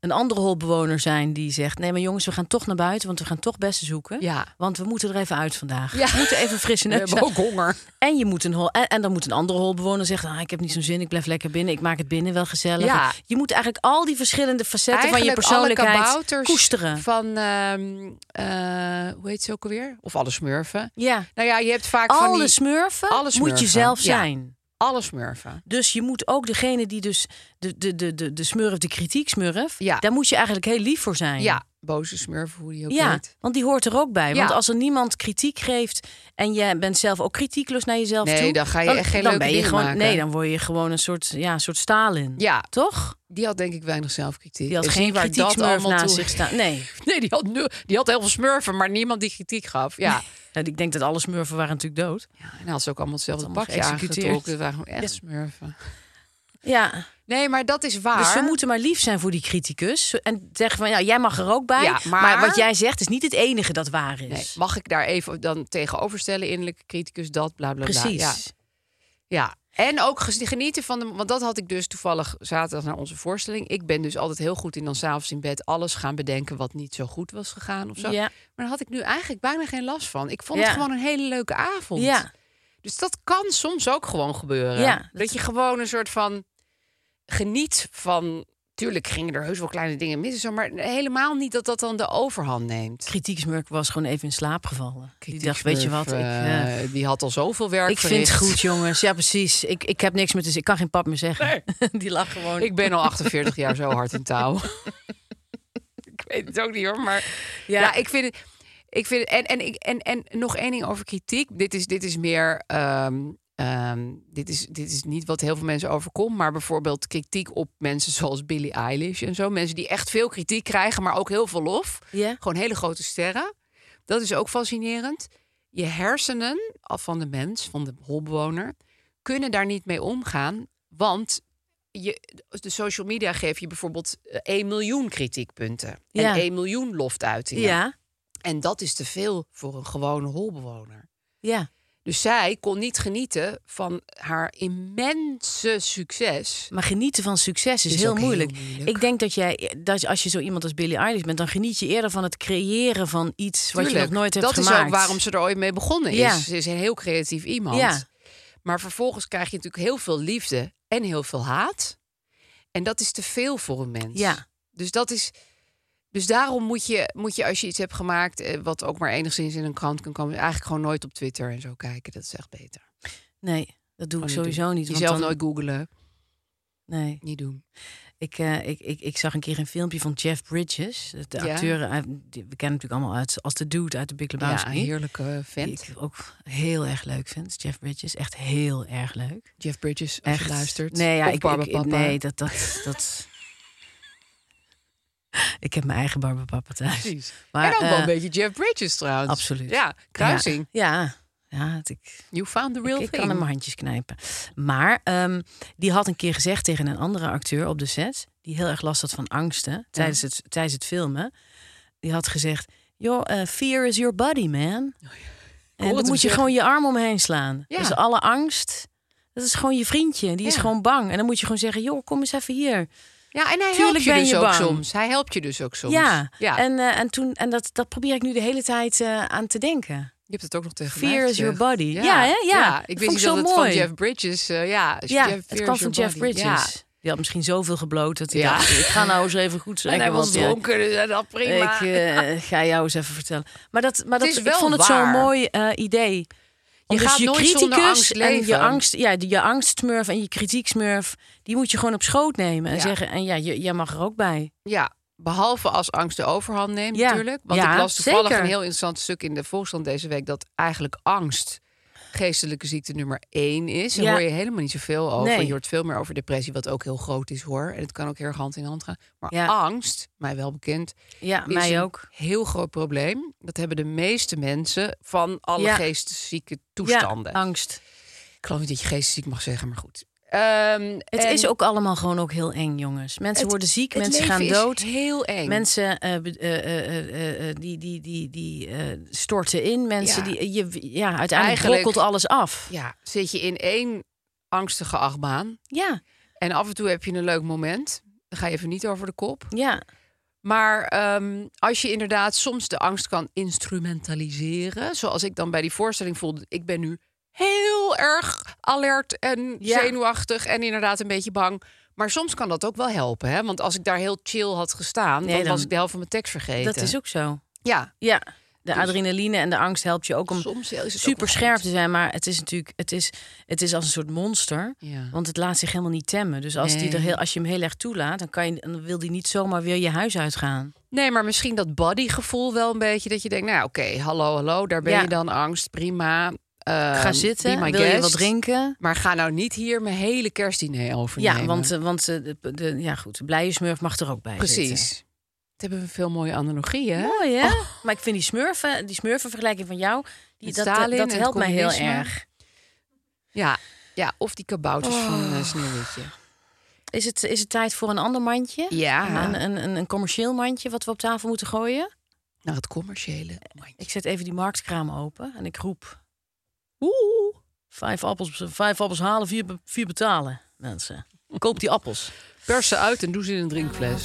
C: een andere holbewoner zijn die zegt: Nee, maar jongens, we gaan toch naar buiten, want we gaan toch bessen zoeken.
B: Ja.
C: Want we moeten er even uit vandaag.
B: Ja.
C: We moeten even frisse
B: We
C: neus
B: hebben ook honger.
C: en, je moet een hol, en, en dan moet een andere holbewoner zeggen... Ah, ik heb niet zo'n zin, ik blijf lekker binnen. Ik maak het binnen wel gezellig.
B: Ja.
C: Je moet eigenlijk al die verschillende facetten van je
B: Eigenlijk alle
C: persoonlijkheid
B: kabouters
C: koesteren.
B: Van, ehm, eh, hoe heet ze ook alweer? Of alle smurfen.
C: Ja.
B: Nou ja, je hebt vaak van
C: Alle
B: die...
C: smurfen,
B: Alle
C: moet
B: smurfen,
C: je zelf
B: ja.
C: zijn.
B: alle smurfen.
C: Dus je moet ook degene die dus de, de, de, de, de smurf, de kritiek smurf,
B: Ja.
C: daar moet je eigenlijk heel lief voor zijn.
B: Ja, boze smurfen, hoe die ook
C: Ja,
B: heet.
C: want die hoort er ook bij. Want
B: Ja.
C: als er niemand kritiek geeft en jij bent zelf ook kritiekloos naar jezelf
B: Nee,
C: toe...
B: dan ga je echt geen
C: dan
B: leuke
C: ben je
B: dingen
C: gewoon,
B: maken.
C: Nee, dan word je gewoon een soort, ja, een soort Stalin.
B: Ja.
C: Toch?
B: Die had denk ik weinig zelfkritiek.
C: Die had
B: En zie
C: geen
B: waar dat
C: kritieksmurf
B: allemaal
C: naast
B: toe-
C: zich staan. Nee.
B: Nee, die had, nul- die had heel veel smurfen, maar niemand die kritiek gaf. Ja,
C: Nou, ik denk dat alle smurfen waren natuurlijk dood.
B: ja en dan had ze ook allemaal hetzelfde
C: allemaal
B: pakje
C: geëxecuteerd.
B: aangetrokken. Dat waren gewoon echt smurfen.
C: Ja.
B: Nee, maar dat is waar.
C: Dus we moeten maar lief zijn voor die criticus. En zeggen van, ja, jij mag er ook bij.
B: Ja,
C: maar...
B: maar-
C: wat jij zegt is niet het enige dat waar is.
B: Nee, Dus mag ik daar even dan tegenoverstellen, innerlijke criticus, dat, bla bla bla.
C: Precies.
B: Ja, Ja, en ook ges- genieten van de. Want dat had ik dus toevallig zaterdag naar onze voorstelling. Ik ben dus altijd heel goed in dan s'avonds in bed alles gaan bedenken wat niet zo goed was gegaan of zo.
C: Ja.
B: Maar daar had ik nu eigenlijk bijna geen last van. Ik vond
C: Ja.
B: het gewoon een hele leuke avond.
C: Ja.
B: Dus dat kan soms ook gewoon gebeuren.
C: Ja,
B: dat,
C: dat-
B: je gewoon een soort van geniet van. Tuurlijk gingen er heus wel kleine dingen mis, en zo, maar helemaal niet dat dat dan de overhand neemt.
C: Kritieksmurk was gewoon even in slaap gevallen. Die dacht, weet je wat, ik,
B: Smurf,
C: eh,
B: eh, die had al zoveel werk.
C: ik vind het
B: verricht.
C: goed, jongens. Ja, precies. Ik, ik heb niks meer te zeggen. Ik kan geen pap meer zeggen. Die lag gewoon.
B: Ik ben al 48 jaar zo hard in touw. ik weet het ook niet hoor, maar ja,
C: Ja.
B: ik vind het. Ik vind en, en, ik- en, en nog één ding over kritiek. Dit is, dit is meer. ehm, ehm, dit, is, dit is niet wat heel veel mensen overkomt. Maar bijvoorbeeld kritiek op mensen zoals Billie Eilish en zo. Mensen die echt veel kritiek krijgen, maar ook heel veel lof.
C: Ja.
B: Gewoon hele grote sterren. Dat is ook fascinerend. Je hersenen af van de mens, van de holbewoner, kunnen daar niet mee omgaan. Want je, de social media geeft je bijvoorbeeld eh, 1 miljoen kritiekpunten.
C: Ja.
B: En 1 miljoen loftuitingen.
C: Ja,
B: En dat is te veel voor een gewone holbewoner.
C: ja.
B: Dus zij kon niet genieten van haar immense succes.
C: Maar genieten van succes is,
B: Is
C: heel,
B: ook heel
C: moeilijk.
B: moeilijk.
C: Ik denk dat jij, dat als je zo iemand als Billie Eilish bent, dan geniet je eerder van het creëren van iets wat je
B: Tuurlijk,
C: nog nooit hebt
B: dat
C: gemaakt.
B: is ook waarom ze er ooit mee begonnen is.
C: Ja.
B: Ze is een heel creatief iemand.
C: Ja.
B: Maar vervolgens krijg je natuurlijk heel veel liefde en heel veel haat. En dat is te veel voor een mens.
C: Ja.
B: Dus dat is. Dus daarom moet je, moet je als je iets hebt gemaakt, eh, wat ook maar enigszins in een krant kan komen, eigenlijk gewoon nooit op Twitter en zo kijken. Dat is echt beter.
C: Nee, dat doe ik
B: Gewoon
C: sowieso
B: doen.
C: niet. want
B: Jezelf
C: dan-
B: nooit googelen.
C: Nee.
B: Niet doen.
C: Ik, eh, ik, ik, ik zag een keer een filmpje van Jeff Bridges, de
B: Ja.
C: acteur. eh, die- we kennen natuurlijk allemaal uit, als de dude uit de Big
B: Ja,
C: Lebowski.
B: een heerlijke
C: die
B: vent.
C: ik ook heel erg leuk vind. Jeff Bridges, echt heel erg leuk.
B: Jeff Bridges, als
C: Echt.
B: je luistert.
C: Nee, ja,
B: Of
C: ik,
B: Barba
C: ik- ik-
B: Papa.
C: nee, dat... dat, dat... ik heb mijn eigen barbapapa thuis.
B: Precies.
C: Maar,
B: en ook wel
C: eh,
B: een beetje Jeff Bridges trouwens.
C: Absoluut.
B: Ja, kruising.
C: Ja, ja, ja het- ik,
B: You found the real
C: ik, ik
B: thing.
C: kan hem mijn handjes knijpen. Maar ehm, die had een keer gezegd tegen een andere acteur op de set... die heel erg last had van angsten tijdens, het, tijdens het filmen. Die had gezegd, joh, eh, fear is your body, man.
B: Oh
C: En
B: hoor
C: dan
B: het hem
C: moet je
B: zeggen.
C: gewoon je arm omheen slaan.
B: Ja.
C: Dus alle angst, dat is gewoon je vriendje. Die is
B: Ja.
C: gewoon bang. En dan moet je gewoon zeggen, joh, kom eens even hier.
B: Ja, en hij helpt
C: Tuurlijk
B: je
C: ben
B: dus
C: je
B: ook
C: bang.
B: soms. Hij helpt je dus ook soms.
C: Ja,
B: ja.
C: en, eh, en, toen, en dat, dat probeer ik nu de hele tijd eh, aan te denken.
B: je hebt het ook nog tegen mij
C: Fear is your
B: gezegd.
C: body. Ja, hè? Ja.
B: ja. Ik
C: Vond
B: wist
C: ik
B: niet
C: zo
B: dat het
C: mooi.
B: van Jeff Bridges... eh, ja,
C: Ja,
B: Jeff,
C: het
B: fear
C: kwam
B: is
C: van
B: your
C: Jeff
B: body.
C: Bridges.
B: Ja.
C: Die had misschien zoveel gebloot dat hij
B: Ja.
C: dacht... ik ga nou eens even goed
B: En
C: zeggen.
B: hij was
C: want, ja,
B: dronken, dus ja, dat prima.
C: Ik eh, ga jou eens even vertellen. Maar, dat, maar dat,
B: is
C: ik
B: wel
C: vond het
B: waar.
C: zo'n mooi eh, idee. Om
B: Je
C: dus
B: gaat
C: je
B: nooit
C: criticus
B: zonder angst
C: en je
B: leven.
C: angst, ja, die- je angstsmurf en je kritieksmurf, die moet je gewoon op schoot nemen en
B: Ja.
C: zeggen: en ja, je- jij mag er ook bij.
B: Ja, behalve als angst de overhand neemt
C: Ja.
B: natuurlijk. Want
C: Ja,
B: ik las toevallig
C: zeker.
B: een heel interessant stuk in de Volkskrant deze week... dat eigenlijk angst geestelijke ziekte nummer één is. Daar
C: Ja.
B: hoor je helemaal niet zoveel over.
C: Nee.
B: Je hoort veel meer over depressie, wat ook heel groot is hoor. En het kan ook heel erg hand in hand gaan. Maar
C: Ja.
B: angst, mij wel bekend...
C: Ja,
B: is
C: mij
B: een
C: ook.
B: heel groot probleem. Dat hebben de meeste mensen van alle
C: Ja.
B: geesteszieke
C: Ja,
B: toestanden.
C: angst.
B: ik geloof niet dat je geestesziek mag zeggen, maar goed. Ehm,
C: Het
B: en
C: is ook allemaal gewoon ook heel eng, jongens. Mensen
B: het-
C: worden ziek,
B: het
C: mensen
B: leven
C: gaan
B: is
C: dood.
B: heel eng.
C: Mensen eh, be- eh, eh, eh, eh, die, die, die, die eh, storten in. Mensen
B: Ja.
C: die eh, je, ja, uiteindelijk
B: Eigenlijk-
C: brokkelt alles af.
B: Ja, zit je in één angstige achtbaan.
C: Ja,
B: En af en toe heb je een leuk moment. Dan ga je even niet over de kop.
C: ja,
B: Maar ehm, als je inderdaad soms de angst kan instrumentaliseren, zoals ik dan bij die voorstelling voelde, ik ben nu heel erg alert en
C: Ja.
B: zenuwachtig en inderdaad een beetje bang. Maar soms kan dat ook wel helpen, hè? Want als ik daar heel chill had gestaan,
C: Nee,
B: dan,
C: dan-
B: was ik de helft van mijn tekst vergeten.
C: dat is ook zo.
B: ja.
C: Ja, de adrenaline en de angst helpt je ook om
B: Soms is Dus- het ook wel
C: super scherp
B: goed.
C: te zijn. Maar het is natuurlijk, het is, het is als een soort monster.
B: Ja.
C: Want het laat zich helemaal niet temmen. Dus als, die er
B: Nee.
C: heel, als je hem heel erg toelaat, dan, kan je, dan wil die niet zomaar weer je huis uitgaan.
B: Nee, maar misschien dat bodygevoel wel een beetje dat je denkt, nou oké, hallo, hallo, daar ben
C: Ja.
B: je dan angst, prima. Ehm,
C: Ga
B: be my
C: zitten, wil je wat
B: guest.
C: drinken?
B: Maar ga nou niet hier mijn hele kerstdiner overnemen.
C: Ja, want, eh, want eh, de, de- ja, goed, de blije smurf mag er ook bij zitten.
B: Precies. Het hebben we veel mooie analogieën. hè?
C: Mooi, hè? Oh. Maar ik vind die smurfen, die smurfenvergelijking van jou, die,
B: Met
C: dat, dat-
B: Stalin en
C: dat
B: het
C: helpt mij heel
B: communisme.
C: erg.
B: Oh. Ja, ja, of die kabouters van eh Sneeuwwitje.
C: Is het, is het tijd voor een ander mandje?
B: Ja.
C: Een, een, een, een commercieel mandje wat we op tafel moeten gooien?
B: Naar het commerciële.
C: Ik zet even die marktkraam open en ik roep... Oeh, vijf appels, vijf appels halen, vier, be- vier betalen, mensen. Koop die appels.
B: Pers ze uit en doe ze in een drinkfles.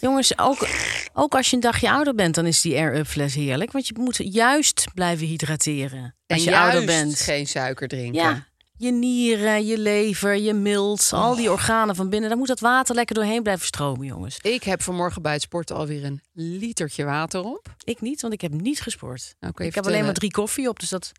C: Jongens, ook, ook als je een dagje ouder bent, dan is die air-up fles heerlijk. Want je moet juist blijven hydrateren als je
B: en juist
C: ouder bent.
B: geen suiker drinken.
C: Ja, je nieren, je lever, je milt, al
B: Oh.
C: die organen van binnen. Daar moet dat water lekker doorheen blijven stromen, jongens.
B: Ik heb vanmorgen bij het sporten alweer een litertje water op.
C: Ik niet, want ik heb niet gesport.
B: Nou, kun je
C: ik heb alleen
B: vertellen-
C: maar drie koffie op, dus dat...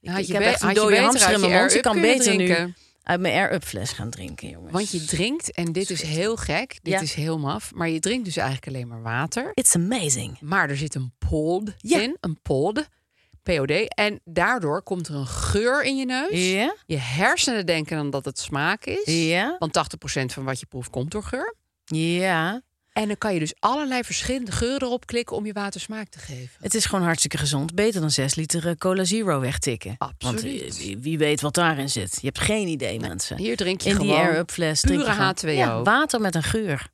C: Ik,
B: Had je
C: ik heb
B: be-
C: echt een
B: had je
C: dode
B: beter
C: hamster in
B: uit je
C: mijn mond. Ik
B: air-up
C: kan
B: kunnen
C: beter nu
B: drinken?
C: uit mijn air-up fles gaan drinken, jongens.
B: Want je drinkt, en dit is heel gek, dit
C: Ja.
B: is heel maf, maar je drinkt dus eigenlijk alleen maar water.
C: It's amazing.
B: Maar er zit een pod
C: Ja.
B: in, een pod, POD. En daardoor komt er een geur in je neus.
C: Ja.
B: Je hersenen denken dan dat het smaak is.
C: Ja.
B: Want 80% van wat je proeft komt door geur.
C: Ja,
B: En dan kan je dus allerlei verschillende geuren erop klikken om je water smaak te geven.
C: het is gewoon hartstikke gezond. Beter dan 6 liter eh, Cola Zero wegtikken. Want
B: Absoluut. Nou,
C: eh, wie, wie weet wat daarin zit. Je hebt geen idee, mensen.
B: Hier drink je
C: in
B: gewoon
C: die air-up fles drink je
B: pure
C: gewoon-
B: H2O.
C: Ja, water met een geur.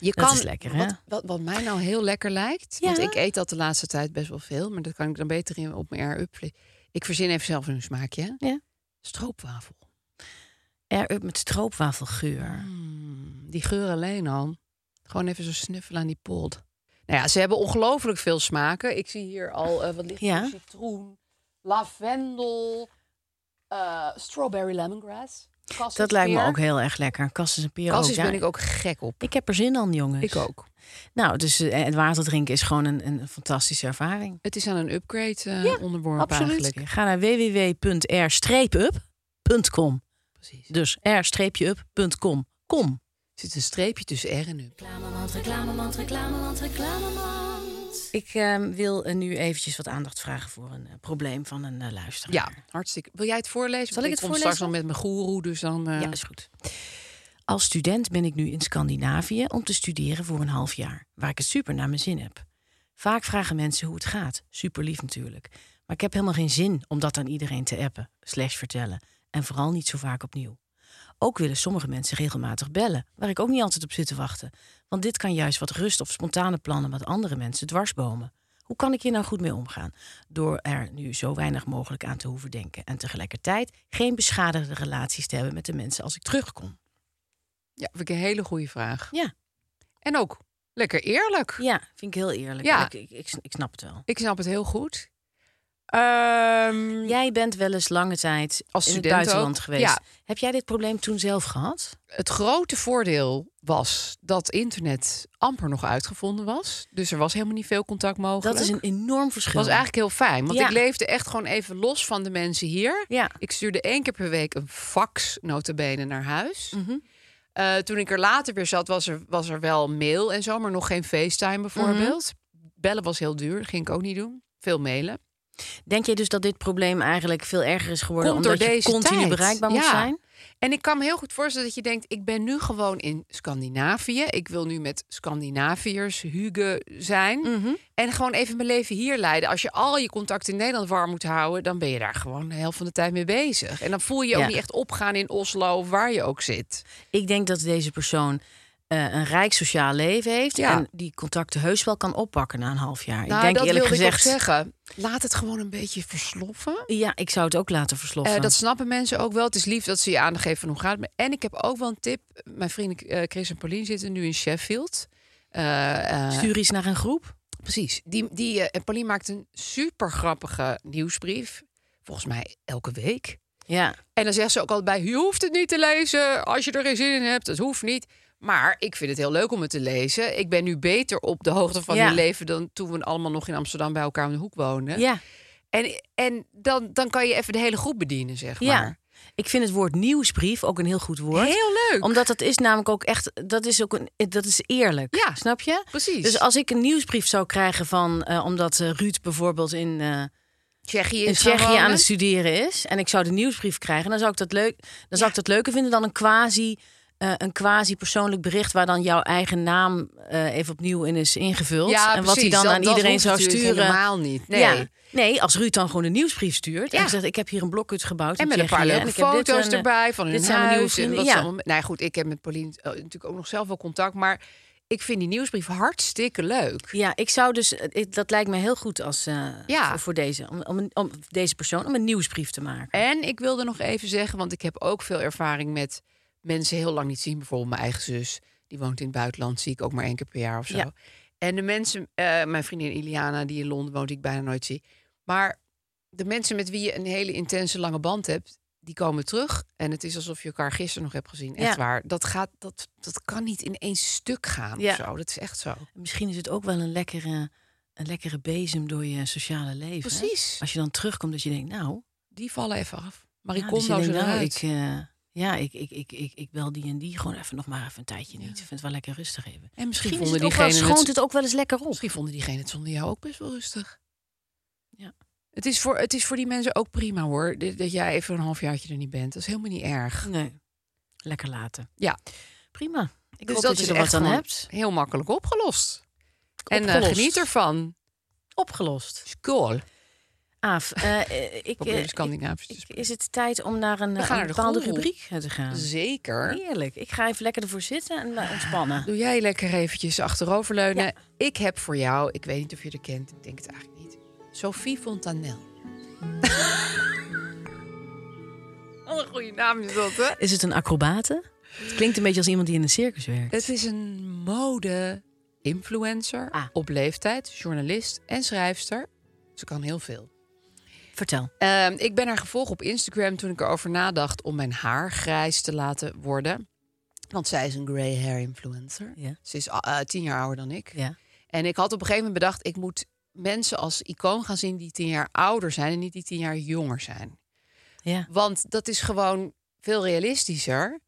B: Je
C: Dat is lekker, hè?
B: Wat, wat, wat mij nou heel lekker lijkt, want
C: Ja.
B: ik eet dat de laatste tijd best wel veel, maar dat kan ik dan beter in, op mijn air-up. vlie- Ik verzin even zelf een smaakje. hè?
C: Ja.
B: Stroopwafel.
C: Air-up met stroopwafelgeur.
B: Mm, die geur alleen al. Gewoon even zo snuffelen aan die pot. Nou ja, ze hebben ongelooflijk veel smaken. Ik zie hier al, eh, wat ligt
C: Ja.
B: hier? Citroen, lavendel, eh, strawberry lemongrass.
C: Dat lijkt me ook heel erg lekker. Kassis en peren
B: Cassis
C: ook, ja.
B: ben ik ook gek op.
C: Ik heb er zin aan, jongens.
B: Ik ook.
C: Nou, dus eh, het water drinken is gewoon een, een fantastische ervaring.
B: Het is aan een upgrade eh onderworpen
C: Absoluut.
B: eigenlijk.
C: Ga naar www.r-up.com.
B: Precies.
C: Dus r-up.com. Kom.
B: Er zit een streepje tussen R en U.
C: Ik eh, wil eh, nu eventjes wat aandacht vragen voor een eh, probleem van een eh, luisteraar.
B: Ja, hartstikke. Wil jij het voorlezen?
C: Zal
B: Want
C: ik het
B: kom straks al
C: voorlezen?
B: met mijn goeroe, dus dan... eh,
C: Ja, is goed. Als student ben ik nu in Scandinavië om te studeren voor een half jaar, waar ik het super naar mijn zin heb. Vaak vragen mensen hoe het gaat, super lief natuurlijk. Maar ik heb helemaal geen zin om dat aan iedereen te appen, slash vertellen. En vooral niet zo vaak opnieuw. Ook willen sommige mensen regelmatig bellen, waar ik ook niet altijd op zit te wachten. Want dit kan juist wat rust of spontane plannen met andere mensen dwarsbomen. Hoe kan ik hier nou goed mee omgaan? Door er nu zo weinig mogelijk aan te hoeven denken en tegelijkertijd geen beschadigde relaties te hebben met de mensen als ik terugkom.
B: ja, vind ik een hele goede vraag.
C: Ja,
B: En ook lekker eerlijk.
C: ja vind ik heel eerlijk.
B: Ja.
C: Ik, ik, ik, ik snap het wel.
B: Ik snap het heel goed. Ehm,
C: Mm. Jij bent wel eens lange tijd
B: Als
C: in het
B: student
C: buitenland
B: ook,
C: geweest.
B: ja.
C: Heb jij dit probleem toen zelf gehad?
B: Het grote voordeel was dat internet amper nog uitgevonden was. Dus er was helemaal niet veel contact mogelijk.
C: Dat is een enorm verschil.
B: was eigenlijk heel fijn, want
C: Ja.
B: ik leefde echt gewoon even los van de mensen hier.
C: Ja.
B: Ik stuurde één keer per week een fax, notabene, naar huis.
C: Mhm.
B: Eh, toen ik er later weer zat, was er, was er wel mail en zo, maar nog geen FaceTime bijvoorbeeld.
C: Mhm.
B: Bellen was heel duur, ging ik ook niet doen. Veel mailen.
C: Denk je dus dat dit probleem eigenlijk veel erger is geworden
B: Komt
C: omdat
B: door
C: je
B: deze
C: continu
B: tijd.
C: bereikbaar moet
B: Ja.
C: zijn?
B: En ik kan me heel goed voorstellen dat je denkt: ik ben nu gewoon in Scandinavië. Ik wil nu met Scandinaviërs, Hugen zijn.
C: Mhm.
B: En gewoon even mijn leven hier leiden. Als je al je contacten in Nederland warm moet houden, dan ben je daar gewoon de helft van de tijd mee bezig. En dan voel je je
C: Ja.
B: ook niet echt opgaan in Oslo, of waar je ook zit.
C: Ik denk dat deze persoon eh, een rijk sociaal leven heeft
B: Ja.
C: en die contacten heus wel kan oppakken na een half jaar.
B: Nou,
C: ik denk
B: dat
C: eerlijk
B: wilde
C: gezegd,
B: ik ook zeggen. Laat het gewoon een beetje versloffen.
C: ja, ik zou het ook laten versloffen.
B: Eh, dat snappen mensen ook wel. Het is lief dat ze je aandacht geven van hoe gaat het. me. En ik heb ook wel een tip. Mijn vrienden eh, Chris en Pauline zitten nu in Sheffield. Eh, eh,
C: Stuur iets naar een groep.
B: Precies. Die, die, eh, en Pauline maakt een super grappige nieuwsbrief. Volgens mij elke week.
C: Ja.
B: En dan zegt ze ook altijd bij: Je hoeft het niet te lezen als je er geen zin in hebt. Het hoeft niet. Maar ik vind het heel leuk om het te lezen. Ik ben nu beter op de hoogte van
C: Ja.
B: hun leven dan toen we allemaal nog in Amsterdam bij elkaar om de hoek woonden.
C: Ja.
B: En, en dan, dan kan je even de hele groep bedienen, zeg maar.
C: ja. Ik vind het woord nieuwsbrief ook een heel goed woord.
B: Heel leuk.
C: Omdat dat is namelijk ook echt, dat is ook een, dat is eerlijk.
B: Ja,
C: Snap je?
B: precies.
C: Dus als ik een nieuwsbrief zou krijgen van, eh, omdat eh, Ruud bijvoorbeeld in, eh,
B: Tsjechië
C: in
B: is gaan
C: Tsjechië aan
B: wonen.
C: het studeren is en ik zou de nieuwsbrief krijgen, dan zou ik dat leuk, dan zou ik dat leuker vinden dan een quasi eh, een quasi-persoonlijk bericht waar dan jouw eigen naam eh, even opnieuw in is ingevuld. en wat hij
B: precies.
C: dan
B: Dat-
C: aan
B: dat
C: iedereen
B: hoeft
C: zou
B: natuurlijk
C: sturen.
B: Helemaal niet. Nee.
C: Ja. nee, als Ruud dan gewoon een nieuwsbrief stuurt
B: Ja.
C: en zegt: Ik heb hier een blokhut gebouwd.
B: En
C: in
B: met een paar
C: Tsjechië,
B: leuke
C: en ik heb dit
B: foto's
C: en, eh,
B: erbij van hun
C: dit zijn mijn nieuwe
B: huis en
C: vrienden.
B: wat ze
C: Ja.
B: allemaal- Nou ja, goed, ik heb met Pauline eh, natuurlijk ook nog zelf wel contact, maar ik vind die nieuwsbrief hartstikke leuk.
C: Ja, ik zou dus, eh, ik- dat lijkt me heel goed als, eh,
B: Ja.
C: voor, voor deze, om, om, een- om deze persoon, om een nieuwsbrief te maken.
B: En ik wilde nog even zeggen, want ik heb ook veel ervaring met mensen heel lang niet zien. Bijvoorbeeld mijn eigen zus, die woont in het buitenland, zie ik ook maar één keer per jaar of zo.
C: Ja.
B: En de mensen, eh, mijn vriendin Iliana, die in Londen woont, die ik bijna nooit zie. Maar de mensen met wie je een hele intense lange band hebt, die komen terug. En het is alsof je elkaar gisteren nog hebt gezien. Echt
C: Ja.
B: waar. Dat, gaat, dat, dat kan niet in één stuk gaan
C: Ja.
B: of zo. Dat is echt zo.
C: Misschien is het ook wel een lekkere, een lekkere bezem door je sociale leven. hè?
B: Precies.
C: Als je dan terugkomt dat je denkt, nou,
B: Die vallen even af. Maar
C: ja,
B: ik kom
C: dus je
B: nou zo
C: denkt, nou,
B: eruit.
C: ik, eh, ja, ik, ik, ik, ik, ik bel die en die gewoon even nog maar even een tijdje niet. Ik vind het wel lekker rustig even.
B: en misschien,
C: Misschien is
B: vonden
C: het ook wel,
B: diegenen
C: schoont
B: het,
C: het ook wel eens lekker op.
B: misschien vonden diegenen het zonder jou ook best wel rustig.
C: Ja.
B: Het is, voor, het is voor die mensen ook prima hoor. Dat dat jij even een halfjaartje er niet bent. Dat is helemaal niet erg.
C: Nee. Lekker laten.
B: Ja. Dus
C: Prima. Ik hoop dat, je er wat aan
B: gewoon
C: hebt.
B: heel makkelijk opgelost. En eh,
C: Opgelost.
B: geniet ervan.
C: Opgelost.
B: School.
C: Aaf, eh, eh, ik,
B: Probeer
C: eh,
B: de Scandinavisch te
C: ik-
B: spreken.
C: is het tijd om naar een,
B: gaan
C: eh, een
B: naar de
C: bepaalde
B: groel.
C: rubriek eh, te gaan?
B: Zeker.
C: Heerlijk. Ik ga even lekker ervoor zitten en eh, ontspannen.
B: Doe jij lekker eventjes achteroverleunen.
C: Ja.
B: Ik heb voor jou, ik weet niet of je er kent, ik denk het eigenlijk niet. Sophie Fontanel. Wat een goede naam is dat, hè?
C: Is het een acrobate? Het klinkt een beetje als iemand die in een circus werkt.
B: Het is een mode-influencer
C: Ah.
B: op leeftijd, journalist en schrijfster. Ze kan heel veel.
C: Vertel.
B: Ehm, ik ben haar gevolgd op Instagram toen ik erover nadacht om mijn haar grijs te laten worden. Want zij is een grey hair influencer.
C: Ja.
B: Ze is ah, eh, tien jaar ouder dan ik.
C: Ja.
B: En ik had op een gegeven moment bedacht, ik moet mensen als icoon gaan zien die tien jaar ouder zijn en niet die tien jaar jonger zijn.
C: ja.
B: Want dat is gewoon veel realistischer.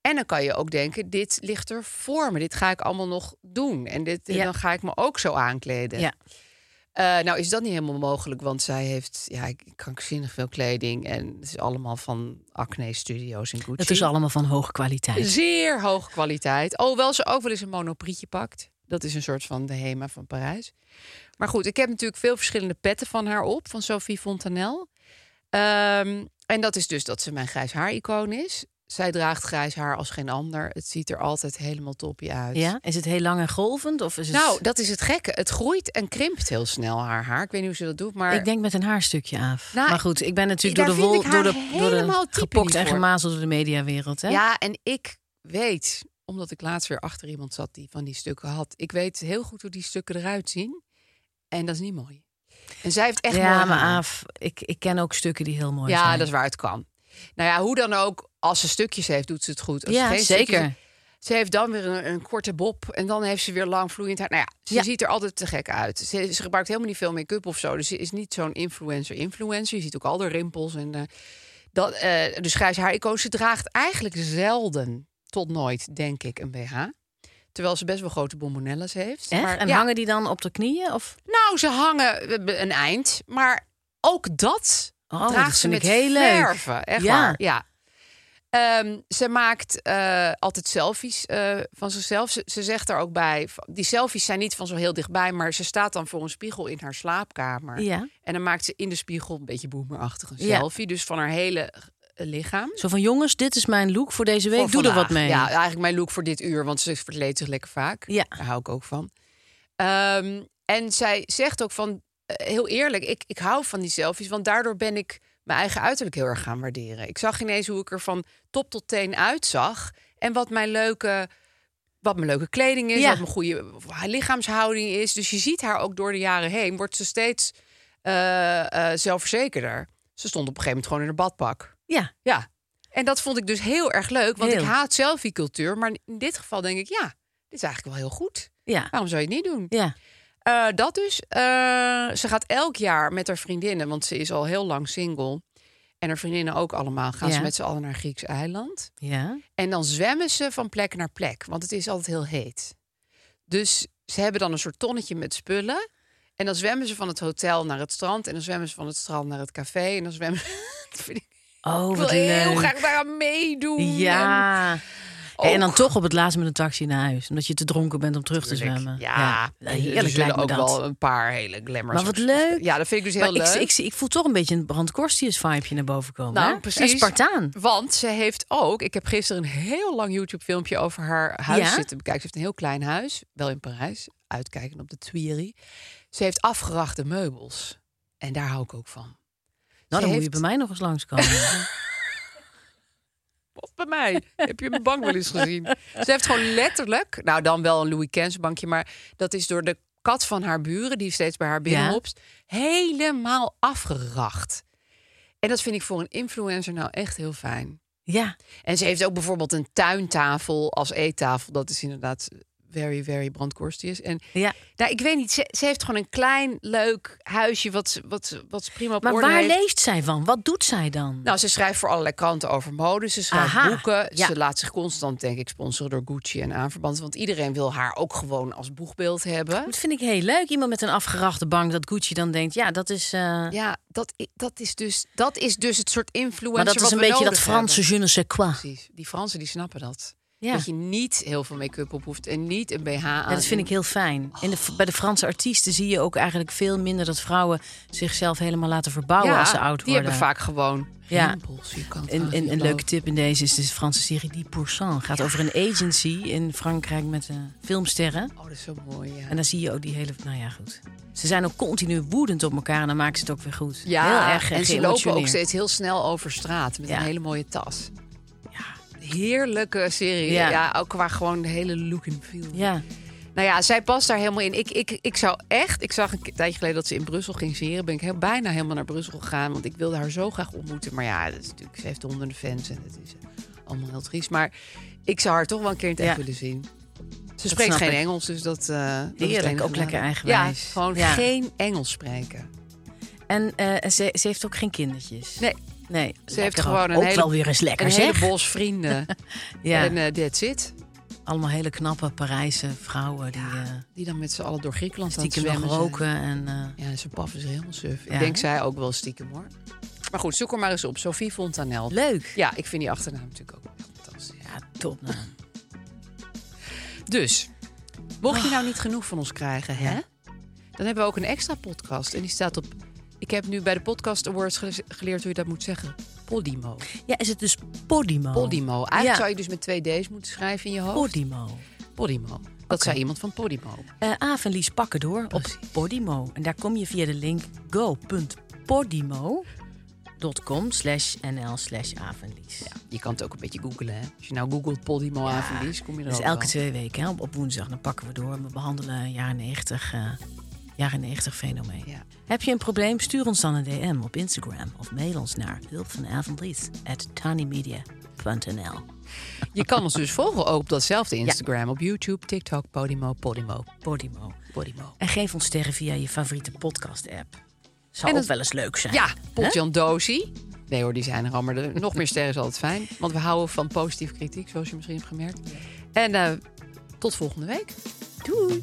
B: En dan kan je ook denken, dit ligt er voor me. Dit ga ik allemaal nog doen. En dit, en
C: Ja.
B: dan ga ik me ook zo aankleden.
C: Ja.
B: Eh, nou is dat niet helemaal mogelijk, want zij heeft ja, ik- krankzinnig veel kleding. En het is allemaal van Acne Studios in Gucci.
C: Het is allemaal van hoge kwaliteit.
B: Zeer hoge kwaliteit. Alhoewel ze ook wel eens een monoprietje pakt. Dat is een soort van de Hema van Parijs. Maar goed, ik heb natuurlijk veel verschillende petten van haar op. Van Sophie Fontanel. Ehm, en dat is dus dat ze mijn grijs haar-icoon is. Zij draagt grijs haar als geen ander. Het ziet er altijd helemaal toppie uit.
C: Ja? Is het heel lang en golvend? Of is het...
B: Nou, dat is het gekke. Het groeit en krimpt heel snel haar haar. Ik weet niet hoe ze dat doet, maar...
C: Ik denk met een haarstukje af.
B: Nou,
C: maar goed, ik ben
B: daar
C: natuurlijk door de
B: vind
C: wol,
B: ik
C: door
B: haar
C: de, door
B: helemaal
C: de
B: type
C: gepokt
B: niet
C: en
B: voor.
C: gemazeld door de mediawereld. Hè?
B: Ja, en ik weet, omdat ik laatst weer achter iemand zat die van die stukken had. Ik weet heel goed hoe die stukken eruit zien. En dat is niet mooi. En zij heeft echt
C: ja
B: mooi
C: maar
B: haar.
C: Aaf, ik, ik ken ook stukken die heel mooi zijn.
B: Ja, dat is waar het kan. Nou ja, hoe dan ook, als ze stukjes heeft, doet ze het goed. Als ze
C: Ja,
B: geen
C: zeker.
B: stukjes heeft- ze heeft dan weer een, een korte bob en dan heeft ze weer lang vloeiend haar. Nou ja, ze
C: Ja.
B: ziet er altijd te gek uit. Ze, ze gebruikt helemaal niet veel make-up of zo. Dus ze is niet zo'n influencer-influencer. Je ziet ook al de rimpels. En, eh, dat, eh, dus grijs haar icoon. Ze draagt eigenlijk zelden tot nooit, denk ik, een BH. Terwijl ze best wel grote bonbonelles heeft.
C: Echt?
B: Maar,
C: en
B: ja.
C: hangen die dan op de knieën? Of...
B: Nou, ze hangen eh, een eind. Maar ook dat
C: Oh,
B: draagt
C: dat
B: ze
C: vind
B: met
C: ik heel leuk.
B: verven. Echt
C: Ja.
B: waar, ja. Ehm, ze maakt eh, altijd selfies eh, van zichzelf. Ze, ze zegt er ook bij, van- die selfies zijn niet van zo heel dichtbij... maar ze staat dan voor een spiegel in haar slaapkamer.
C: Ja.
B: En dan maakt ze in de spiegel een beetje boomerachtig een
C: Ja.
B: selfie. Dus van haar hele eh, lichaam.
C: Zo van jongens, dit is mijn look voor deze week.
B: Voor
C: Doe er
B: vandaag.
C: wat mee.
B: Ja, eigenlijk mijn look voor dit uur, want ze verkleedt zich lekker vaak.
C: Ja.
B: Daar hou ik ook van. Ehm, en zij zegt ook van, eh, heel eerlijk, ik, ik hou van die selfies, want daardoor ben ik mijn eigen uiterlijk heel erg gaan waarderen. Ik zag ineens hoe ik er van top tot teen uitzag en wat mijn leuke, wat mijn leuke kleding is,
C: Ja.
B: wat mijn goede haar lichaamshouding is. Dus je ziet haar ook door de jaren heen, wordt ze steeds eh, eh, zelfverzekerder. Ze stond op een gegeven moment gewoon in haar badpak.
C: Ja.
B: Ja. En dat vond ik dus heel erg leuk, want
C: Heel.
B: ik haat selfie-cultuur. Maar in dit geval denk ik, ja, dit is eigenlijk wel heel goed.
C: Ja.
B: Waarom zou je het niet doen?
C: Ja.
B: Eh, dat dus. Eh, ze gaat elk jaar met haar vriendinnen, want ze is al heel lang single. En haar vriendinnen ook allemaal. Gaan
C: Ja.
B: ze met z'n allen naar Grieks eiland.
C: Ja.
B: En dan zwemmen ze van plek naar plek, want het is altijd heel heet. Dus ze hebben dan een soort tonnetje met spullen. En dan zwemmen ze van het hotel naar het strand. En dan zwemmen ze van het strand naar het café. En dan zwemmen ze... Dat vind ik
C: Oh,
B: ik
C: wat
B: wil heel
C: leuk.
B: graag daaraan meedoen.
C: Ja.
B: En Oh.
C: Hey, en dan toch op het laatst met een taxi naar huis. Omdat je te dronken bent om terug te
B: Tuurlijk,
C: zwemmen.
B: Ja, en
C: heerlijk
B: er
C: lijkt
B: zullen
C: me
B: ook
C: dat.
B: wel een paar hele glamour.
C: Maar wat leuk.
B: Ja, dat vind ik dus
C: Maar
B: heel leuk.
C: Ik, ik, ik voel toch een beetje een Brand Korstius vibeje naar boven komen.
B: Nou,
C: hè?
B: precies.
C: En Spartaan.
B: Want ze heeft ook, ik heb gisteren een heel lang YouTube-filmpje over haar huis
C: Ja?
B: zitten bekijken. Ze heeft een heel klein huis, wel in Parijs, uitkijken op de Tuileries. Ze heeft afgerachte meubels. En daar hou ik ook van.
C: Nou, dan moet je
B: heeft-
C: bij mij nog eens langskomen.
B: Of bij mij. Heb je mijn bank wel eens gezien? Ze heeft gewoon letterlijk, nou dan wel een Louis Kens bankje, maar dat is door de kat van haar buren, die steeds bij haar binnenhopst, helemaal afgeracht. En dat vind ik voor een influencer nou echt heel fijn.
C: ja.
B: En ze heeft ook bijvoorbeeld een tuintafel als eettafel. Dat is inderdaad very, very brandkorstius. En
C: ja.
B: nou, ik weet niet, ze, ze heeft gewoon een klein, leuk huisje wat, ze- wat, ze- wat ze prima op
C: Maar
B: orde
C: waar
B: heeft.
C: leeft zij van? Wat doet zij dan?
B: Nou, ze schrijft voor allerlei kranten over mode. Ze schrijft
C: Aha,
B: boeken.
C: ja.
B: Ze laat zich constant, denk ik, sponsoren door Gucci en aanverband. Want iedereen wil haar ook gewoon als boegbeeld hebben.
C: dat vind ik heel leuk. Iemand met een afgerachte bank dat Gucci dan denkt... ja, dat is... eh,
B: Ja, dat, i- dat, is, dus, dat is dus het soort influencer
C: maar dat is
B: wat
C: een
B: we
C: beetje dat
B: nodig
C: Franse
B: hebben.
C: je ne sais quoi.
B: Precies. Die Fransen die snappen dat.
C: Ja.
B: Dat je niet heel veel make-up op hoeft en niet een BH aan.
C: Ja, dat vind ik heel fijn. En de,
B: Oh.
C: bij de Franse artiesten zie je ook eigenlijk veel minder... dat vrouwen zichzelf helemaal laten verbouwen
B: Ja,
C: als ze oud
B: die
C: worden.
B: hebben vaak gewoon
C: Ja.
B: rimpels. Je kan het
C: Een,
B: haast
C: een,
B: niet
C: een leuke
B: geloven.
C: tip in deze is de Franse serie Die Pourcent. Gaat over een agency in Frankrijk met eh, filmsterren.
B: Oh, dat is zo mooi, ja.
C: En dan zie je ook die hele... Nou ja, goed. Ze zijn ook continu woedend op elkaar en dan maken ze het ook weer goed.
B: ja,
C: heel erg eh,
B: en ze lopen ook
C: geëmotioneerd.
B: steeds heel snel over straat met
C: Ja.
B: een hele mooie tas. Heerlijke serie.
C: Ja.
B: Ja. ook qua gewoon de hele look and feel.
C: Ja,
B: Nou ja, zij past daar helemaal in. Ik, ik, ik zou echt... Ik zag een tijdje geleden dat ze in Brussel ging zeren. Ben ik heel, bijna helemaal naar Brussel gegaan. Want ik wilde haar zo graag ontmoeten. Maar ja, dat is natuurlijk, ze heeft honderden fans. En het is eh, allemaal heel triest. Maar ik zou haar toch wel een keer in het echt
C: Ja.
B: willen zien. Ze spreekt
C: snap
B: geen
C: ik.
B: Engels, dus dat... eh, dat is het
C: Heerlijk,
B: enige
C: ook
B: nadeel.
C: lekker eigenwijs.
B: Ja, gewoon
C: Ja.
B: geen Engels spreken.
C: en eh, ze, ze heeft ook geen kindertjes.
B: Nee,
C: Nee,
B: ze heeft
C: lekker ook.
B: gewoon een
C: ook
B: hele...
C: wel weer eens lekker,
B: een
C: zeg.
B: heleboel vrienden.
C: Ja,
B: En eh, that's it.
C: allemaal hele knappe Parijse vrouwen die eh
B: Die dan met z'n allen door Griekenland
C: stiekem
B: aan het
C: nog
B: zwemmen zijn.
C: roken. En, eh,
B: Ja, ze paffen ze helemaal suf.
C: Ja,
B: ik denk
C: hè?
B: zij ook wel stiekem hoor. Maar goed, zoek hem maar eens op. Sophie Fontanel.
C: leuk.
B: Ja, ik vind die achternaam natuurlijk ook wel echt fantastisch.
C: Ja, top. nou.
B: Dus, mocht je nou niet genoeg van ons krijgen, hè? Dan hebben we ook een extra podcast. En die staat op... Ik heb nu bij de Podcast Awards gele- geleerd hoe je dat moet zeggen. Podimo.
C: Ja, is het dus Podimo?
B: Podimo. Eigenlijk
C: Ja.
B: zou je dus met twee D's moeten schrijven in je hoofd.
C: Podimo.
B: Podimo. Dat zei iemand van Podimo.
C: Eh Aaf en Lies pakken door op Podimo. En daar kom je via de link go.podimo.com slash nl slash Aaf en Lies.
B: Je kan het ook een beetje googlen, hè? Als je nou googelt Podimo ja. kom je er
C: Dus
B: ook
C: elke
B: wel.
C: twee weken, hè, op, op woensdag, dan pakken we door. en We behandelen jaren 90, eh, jaren 90 fenomeen.
B: Ja.
C: Heb je een probleem? Stuur ons dan een DM op Instagram. Of mail ons naar hulpvanavondlies at tinymedia.nl.
B: Je kan ons dus volgen ook op datzelfde Instagram, op YouTube, TikTok, Podimo, Podimo,
C: Podimo.
B: Oh. Podimo.
C: En geef ons sterren via je favoriete podcast-app. Zou
B: En
C: ook
B: dat-
C: wel eens leuk zijn.
B: Ja,
C: Ah. hè?
B: Potjan Dosi. Nee hoor, die zijn er al, maar er- nog meer sterren is altijd fijn. Want we houden van positieve kritiek, zoals je misschien hebt gemerkt. En eh, tot volgende week. Doei!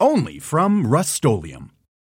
E: Only from Rust